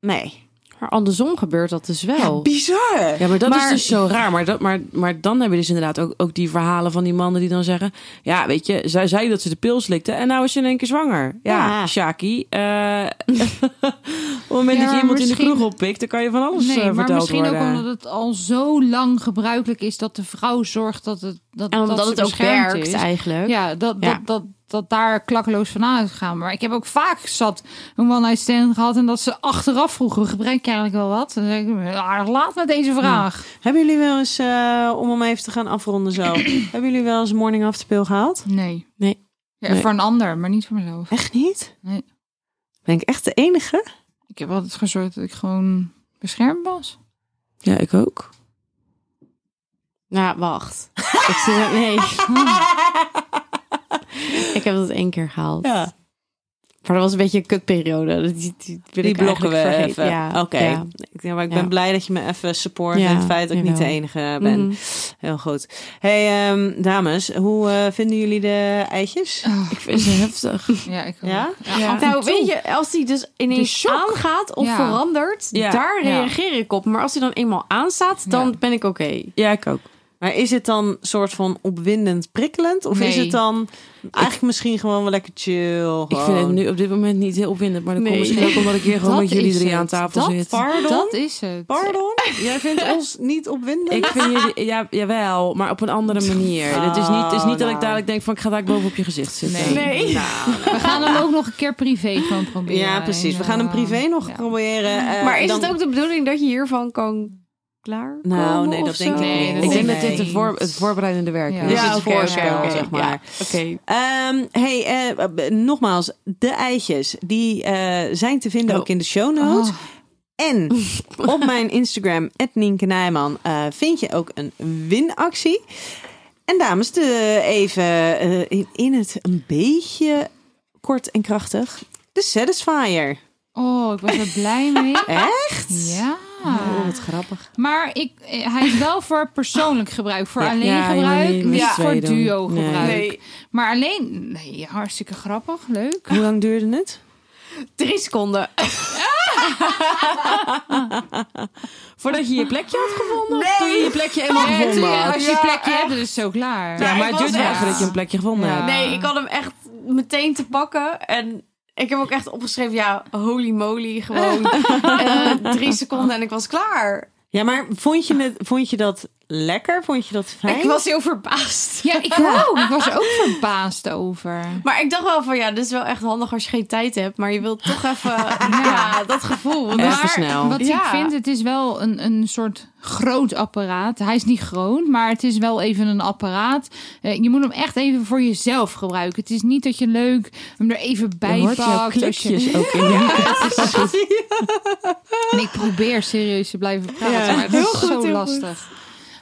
Speaker 4: Nee.
Speaker 1: Maar andersom gebeurt dat dus wel.
Speaker 4: Bizar.
Speaker 2: Ja, maar dat is
Speaker 4: Maar-
Speaker 2: dus zo raar. Maar, dat, maar, maar dan heb je dus inderdaad ook, ook die verhalen van die mannen die dan zeggen... Ja, weet je, zij zei dat ze de pil slikte en nou is ze in één keer zwanger. Ja,
Speaker 4: Ja.
Speaker 2: Shaki. eh, op het moment
Speaker 3: Ja,
Speaker 2: dat je
Speaker 3: maar
Speaker 2: iemand in de
Speaker 3: misschien-
Speaker 2: kroeg oppikt, dan kan je van alles
Speaker 3: nee,
Speaker 2: eh, verteld
Speaker 3: maar misschien
Speaker 2: worden.
Speaker 3: ook omdat het al zo lang gebruikelijk is dat de vrouw zorgt dat het dat,
Speaker 1: En omdat
Speaker 3: dat ze
Speaker 1: het ook
Speaker 3: beschermd
Speaker 1: werkt
Speaker 3: is.
Speaker 1: eigenlijk.
Speaker 3: Ja, dat,
Speaker 1: Ja.
Speaker 3: Dat, dat, dat daar klakkeloos van uitgaan. Maar ik heb ook vaak zat een one-night stand gehad en dat ze achteraf vroegen, gebruik je eigenlijk wel wat? Dan denk ik, "Ah, laat met deze vraag.
Speaker 4: Hebben jullie wel eens, eh, om hem even te gaan afronden zo, hebben jullie wel eens morning after pill gehaald?
Speaker 3: Nee.
Speaker 1: Nee.
Speaker 3: Ja,
Speaker 1: Nee.
Speaker 3: Voor een ander, maar niet voor mezelf.
Speaker 4: Echt niet?
Speaker 3: Nee.
Speaker 4: Ben ik echt de enige?
Speaker 3: Ik heb altijd gezorgd dat ik gewoon beschermd was.
Speaker 2: Ja, ik ook.
Speaker 1: Nou, wacht. ik zit er- nee. ik heb dat één keer gehaald.
Speaker 4: Ja.
Speaker 1: Maar dat was een beetje een kutperiode. Die, die,
Speaker 4: Die
Speaker 1: wil ik
Speaker 4: blokken we
Speaker 1: eigenlijk vergeten.
Speaker 4: even.
Speaker 1: Ja,
Speaker 4: Oké.
Speaker 1: ja.
Speaker 4: Ik- Ja, maar ik
Speaker 1: Ja.
Speaker 4: ben blij dat je me even support
Speaker 1: Ja,
Speaker 4: in het feit dat ik niet de
Speaker 1: jawel.
Speaker 4: enige ben.
Speaker 1: Mhm.
Speaker 4: Heel goed. Hey ehm, dames, hoe eh, vinden jullie de eitjes?
Speaker 2: Ik vind ze heftig.
Speaker 3: Ja, ik ook.
Speaker 4: Ja?
Speaker 3: Ja.
Speaker 1: Nou, weet je, als die dus
Speaker 3: De
Speaker 1: ineens
Speaker 3: shock.
Speaker 1: aangaat of
Speaker 3: Ja.
Speaker 1: verandert,
Speaker 2: Ja.
Speaker 1: daar
Speaker 3: Ja.
Speaker 1: reageer ik op. Maar als die dan eenmaal aanstaat, dan
Speaker 3: Ja.
Speaker 1: ben ik oké.
Speaker 2: Ja, ik ook.
Speaker 4: Maar is het dan soort van opwindend prikkelend? Of is
Speaker 3: Nee.
Speaker 4: het dan eigenlijk misschien gewoon wel lekker chill?
Speaker 2: Ik vind het nu op dit moment niet heel opwindend. Maar dat
Speaker 1: Nee.
Speaker 2: komt misschien ook omdat ik hier gewoon
Speaker 3: Dat
Speaker 2: met jullie
Speaker 3: is
Speaker 2: drie
Speaker 3: het.
Speaker 2: aan tafel
Speaker 3: Dat
Speaker 2: zit.
Speaker 4: Pardon?
Speaker 3: Dat is het.
Speaker 4: Pardon? Jij vindt ons niet opwindend?
Speaker 2: Ik vind jullie, ja, jawel, maar op een andere manier. Het is niet, het is niet dat
Speaker 4: nou.
Speaker 2: ik dadelijk denk van ik ga daar boven op je gezicht zitten.
Speaker 3: Nee. We gaan hem ook nog een keer privé gewoon proberen.
Speaker 4: Ja, precies. We
Speaker 3: En,
Speaker 4: gaan hem
Speaker 3: eh,
Speaker 4: privé nog
Speaker 3: ja.
Speaker 4: proberen. eh,
Speaker 1: maar is
Speaker 4: dan-
Speaker 1: het ook de bedoeling dat je hiervan kan klaar?
Speaker 4: Nou, nee,
Speaker 1: of
Speaker 4: dat denk
Speaker 1: zo?
Speaker 4: ik
Speaker 3: Nee,
Speaker 4: niet.
Speaker 3: dat
Speaker 2: Ik denk
Speaker 3: Nee.
Speaker 2: dat dit de voor, het voorbereidende werk
Speaker 3: Ja.
Speaker 2: is.
Speaker 4: Ja,
Speaker 2: het
Speaker 4: oké,
Speaker 2: voorspel,
Speaker 4: oké, oké.
Speaker 2: zeg maar.
Speaker 4: Ja.
Speaker 1: Oké.
Speaker 4: Ehm, hey, eh, b- nogmaals, de eitjes, die eh, zijn te vinden ook in de show notes.
Speaker 3: Oh.
Speaker 4: En op mijn Instagram, Nienke Nijman, eh, vind je ook een winactie. En dames, de, even eh, in, in het een beetje kort en krachtig. De Satisfier.
Speaker 3: Oh, ik was er blij mee.
Speaker 4: Echt?
Speaker 3: Ja.
Speaker 4: Oh, wat grappig.
Speaker 3: Maar ik, eh, hij is wel voor persoonlijk gebruik. Voor alleen
Speaker 2: Ja, je moet
Speaker 3: gebruik,
Speaker 2: niet
Speaker 3: niet,
Speaker 2: met z'n
Speaker 3: voor
Speaker 2: tweeën doen.
Speaker 3: duo
Speaker 2: Nee.
Speaker 3: gebruik.
Speaker 1: Nee.
Speaker 3: Maar alleen, nee, hartstikke grappig, leuk.
Speaker 4: Hoe lang duurde het?
Speaker 1: Drie seconden.
Speaker 2: Voordat je je plekje had gevonden? Of toen je je plekje eenmaal
Speaker 3: En toen
Speaker 2: gevonden
Speaker 3: je-
Speaker 2: had?
Speaker 3: Oh, als je plekje hebt, dan is het zo klaar.
Speaker 2: Ja, maar het
Speaker 1: ik was
Speaker 2: duurt wel
Speaker 1: echt-
Speaker 2: voordat je een plekje gevonden
Speaker 3: Ja.
Speaker 2: hebt.
Speaker 1: Nee, ik had hem echt meteen te pakken. En ik heb ook echt opgeschreven, ja, holy moly, gewoon Eh, drie seconden en ik was klaar.
Speaker 4: Ja, maar vond je, het, vond je dat lekker? Vond je dat fijn?
Speaker 1: Ik was heel verbaasd.
Speaker 3: Ja, ik ook. Ik was er ook verbaasd over.
Speaker 1: Maar ik dacht wel van, ja, dit is wel echt handig als je geen tijd hebt. Maar je wilt toch even, ja, dat gevoel. Want
Speaker 2: Even
Speaker 1: maar-
Speaker 2: snel.
Speaker 4: Nou,
Speaker 3: Wat
Speaker 1: Ja.
Speaker 3: ik vind, het is wel een, een soort groot apparaat. Hij is niet groot, maar het is wel even een apparaat. Eh, je moet hem echt even voor jezelf gebruiken. Het is niet dat je leuk hem er even bij
Speaker 2: Je hoort jouw
Speaker 3: pakt. als je-
Speaker 2: klikjes ook in je
Speaker 3: En ik probeer serieus te blijven praten,
Speaker 4: Ja.
Speaker 3: maar dat
Speaker 4: Heel
Speaker 3: is
Speaker 4: goed, heel
Speaker 3: zo
Speaker 4: goed.
Speaker 3: lastig.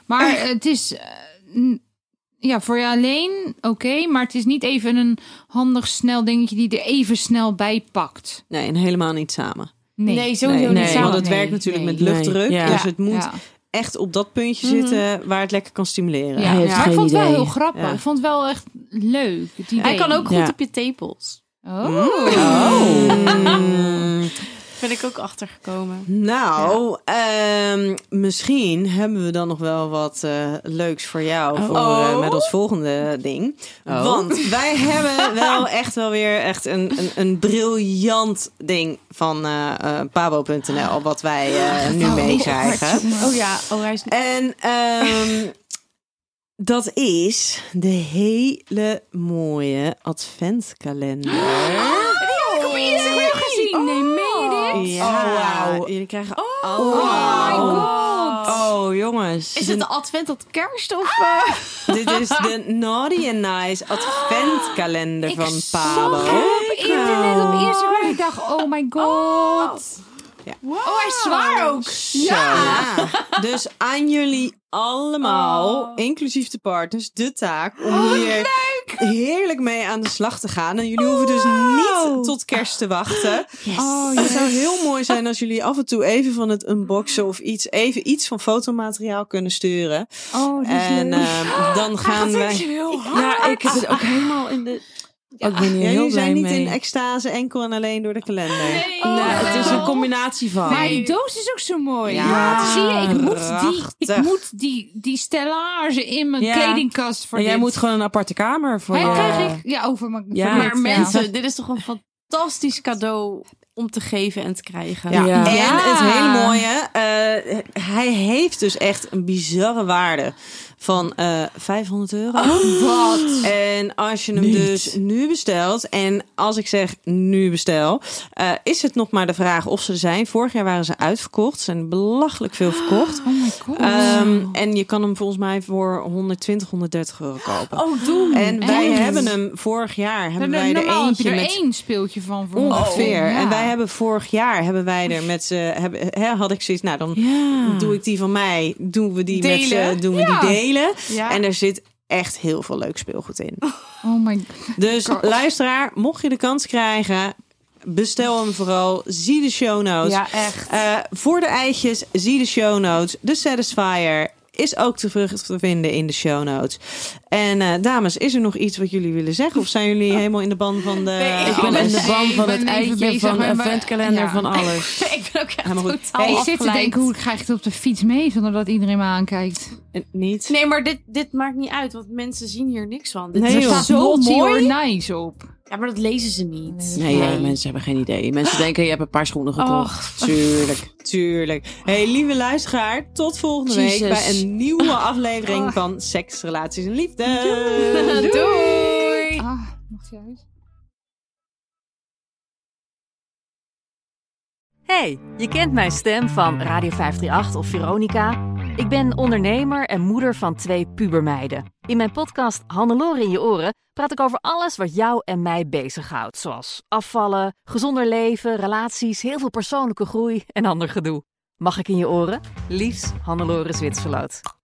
Speaker 3: Maar eh, het is... eh, n- ja, voor je alleen oké, maar het is niet even een handig snel dingetje die er even snel bij pakt.
Speaker 4: Nee, en helemaal niet samen.
Speaker 3: Oh,
Speaker 1: Nee, sowieso
Speaker 4: Nee,
Speaker 1: niet
Speaker 2: nee,
Speaker 1: samen.
Speaker 4: want het
Speaker 3: Nee,
Speaker 4: werkt natuurlijk
Speaker 3: nee.
Speaker 4: met luchtdruk.
Speaker 2: Nee, ja.
Speaker 4: Dus
Speaker 1: Ja,
Speaker 4: het moet
Speaker 3: Ja.
Speaker 4: echt op dat puntje
Speaker 1: Mhm.
Speaker 4: zitten waar het lekker kan stimuleren.
Speaker 3: Ja,
Speaker 2: Hij heeft
Speaker 3: maar ik
Speaker 2: geen
Speaker 3: vond het wel
Speaker 2: idee.
Speaker 3: heel grappig.
Speaker 4: Ja.
Speaker 3: Ik vond het wel echt leuk. het idee.
Speaker 1: Hij kan ook goed
Speaker 2: Ja.
Speaker 1: op je tepels.
Speaker 3: Oh.
Speaker 4: Mm.
Speaker 1: Ben ik ook achtergekomen.
Speaker 4: Nou, ehm, misschien hebben we dan nog wel wat eh, leuks voor jou voor, eh, met ons volgende ding. Want wij hebben wel echt wel weer echt een, een, een briljant ding van eh eh, pabo.nl wat wij eh, nu mee krijgen.
Speaker 1: Oh ja, oh hij is...
Speaker 4: En ehm, dat is de hele mooie adventkalender.
Speaker 1: Oh,
Speaker 3: gezien. Nee, meen je dit?
Speaker 4: Ja,
Speaker 2: Oh, wauw.
Speaker 4: jullie krijgen
Speaker 2: Oh my
Speaker 4: allemaal.
Speaker 2: Oh, jongens.
Speaker 1: Is het de advent tot kerst of... eh?
Speaker 4: Dit is de Naughty and Nice adventkalender
Speaker 3: Ik
Speaker 4: van
Speaker 3: zag
Speaker 4: Pabo.
Speaker 3: Op internet, op Instagram. Ik dacht, oh my god.
Speaker 1: Oh, hij is zwaar ook.
Speaker 4: Ja. Dus aan jullie allemaal,
Speaker 1: Oh.
Speaker 4: inclusief de partners, de taak om hier heerlijk mee aan de slag te gaan. En jullie hoeven dus niet tot kerst te wachten.
Speaker 3: Oh,
Speaker 4: Het zou heel mooi zijn als jullie af en toe even van het unboxen of iets, even iets van fotomateriaal kunnen sturen.
Speaker 3: oh, dit is
Speaker 4: En
Speaker 3: leuk.
Speaker 4: ehm, dan gaan wij.
Speaker 2: Nou, Ja, ik zit ook helemaal in de... Ook ben hier
Speaker 4: Ja,
Speaker 2: heel
Speaker 4: jullie
Speaker 2: blij
Speaker 4: zijn niet
Speaker 2: mee.
Speaker 4: in extase enkel en alleen door de kalender.
Speaker 2: Nee, het is
Speaker 1: Oh.
Speaker 2: een combinatie van.
Speaker 3: Maar die doos is ook zo mooi.
Speaker 2: Ja, het is
Speaker 3: zie je, ik moet, die, ik
Speaker 4: prachtig.
Speaker 3: moet die, die stellage in mijn
Speaker 2: Ja.
Speaker 3: kledingkast voor
Speaker 2: en jij
Speaker 3: dit.
Speaker 2: moet gewoon een aparte kamer voor
Speaker 3: Hey,
Speaker 2: je.
Speaker 3: krijg ik, ja, over mijn
Speaker 2: Ja.
Speaker 3: voor
Speaker 1: Maar
Speaker 3: dit, ja.
Speaker 1: mensen, dit is toch een fantastisch cadeau om te geven en te krijgen.
Speaker 4: Ja.
Speaker 2: Ja.
Speaker 3: Ah.
Speaker 4: En het hele mooie, eh, hij heeft dus echt een bizarre waarde van eh 500 euro.
Speaker 3: Oh, Wat?
Speaker 4: En als je hem
Speaker 2: Niet.
Speaker 4: dus nu bestelt, en als ik zeg nu bestel, eh, is het nog maar de vraag of ze er zijn. Vorig jaar waren ze uitverkocht, zijn belachelijk veel verkocht.
Speaker 3: Oh my god.
Speaker 4: Ehm, en je kan hem volgens mij voor 120, 130 euro kopen.
Speaker 1: Oh, doe.
Speaker 4: En wij
Speaker 3: echt?
Speaker 4: hebben hem vorig jaar hebben wij er
Speaker 3: nou, normaal heb je
Speaker 4: eentje
Speaker 3: er
Speaker 4: met
Speaker 3: één speeltje van voor
Speaker 4: Ongeveer.
Speaker 3: Oh, Ja.
Speaker 4: En wij hebben vorig jaar hebben wij er met z'n hebben, hè, had ik zoiets. Nou, dan
Speaker 2: Ja.
Speaker 4: doe ik die van mij. Doen we die met
Speaker 1: Delen.
Speaker 4: z'n, doen we
Speaker 3: Ja.
Speaker 4: die delen.
Speaker 3: Ja.
Speaker 4: En er zit echt heel veel leuk speelgoed in.
Speaker 3: Oh my
Speaker 4: Dus
Speaker 3: God.
Speaker 4: luisteraar, mocht je de kans krijgen, bestel hem vooral. Zie de show notes.
Speaker 1: Ja, echt.
Speaker 4: Eh, voor de eitjes, zie de show notes. De Satisfier is ook terug te vinden in de show notes. En eh, dames, is er nog iets wat jullie willen zeggen? Of zijn jullie helemaal in de ban van de...
Speaker 1: Nee, ik
Speaker 2: Ik ben
Speaker 4: alles?
Speaker 2: in de ban
Speaker 3: Ik
Speaker 2: van
Speaker 3: ben
Speaker 2: het
Speaker 3: even
Speaker 2: eitje,
Speaker 3: bezig
Speaker 2: van de
Speaker 3: met mijn-
Speaker 2: eventkalender,
Speaker 3: ja.
Speaker 2: van alles.
Speaker 1: ik ben ook echt
Speaker 4: Helemaal goed.
Speaker 1: totaal
Speaker 4: Hey,
Speaker 3: Ik zit te
Speaker 1: afgeleid.
Speaker 3: denken, hoe krijg ik het op de fiets mee zonder dat iedereen me aankijkt?
Speaker 4: Eh, Niet?
Speaker 1: Nee, maar dit, dit maakt niet uit, want mensen zien hier niks van. Dit
Speaker 4: Nee,
Speaker 1: is
Speaker 4: joh.
Speaker 1: zo
Speaker 3: Naughty
Speaker 1: mooi.
Speaker 3: or nice op.
Speaker 1: Ja, maar dat lezen ze niet.
Speaker 2: Nee, ja, mensen hebben geen idee. Mensen denken, je hebt een paar schoenen gekocht.
Speaker 1: Och,
Speaker 4: Tuurlijk, tuurlijk. hey, lieve luisteraar, tot volgende week
Speaker 2: Jezus.
Speaker 4: bij een nieuwe aflevering van Seks, Relaties en Liefde.
Speaker 1: doei.
Speaker 3: Ah, mocht je uit?
Speaker 5: Hey, je kent mijn stem van Radio 538 of Veronica. Ik ben ondernemer en moeder van twee pubermeiden. In mijn podcast Hannelore in je oren praat ik over alles wat jou en mij bezighoudt. Zoals afvallen, gezonder leven, relaties, heel veel persoonlijke groei en ander gedoe. Mag ik in je oren? Liefs, Hannelore Zwitserloot.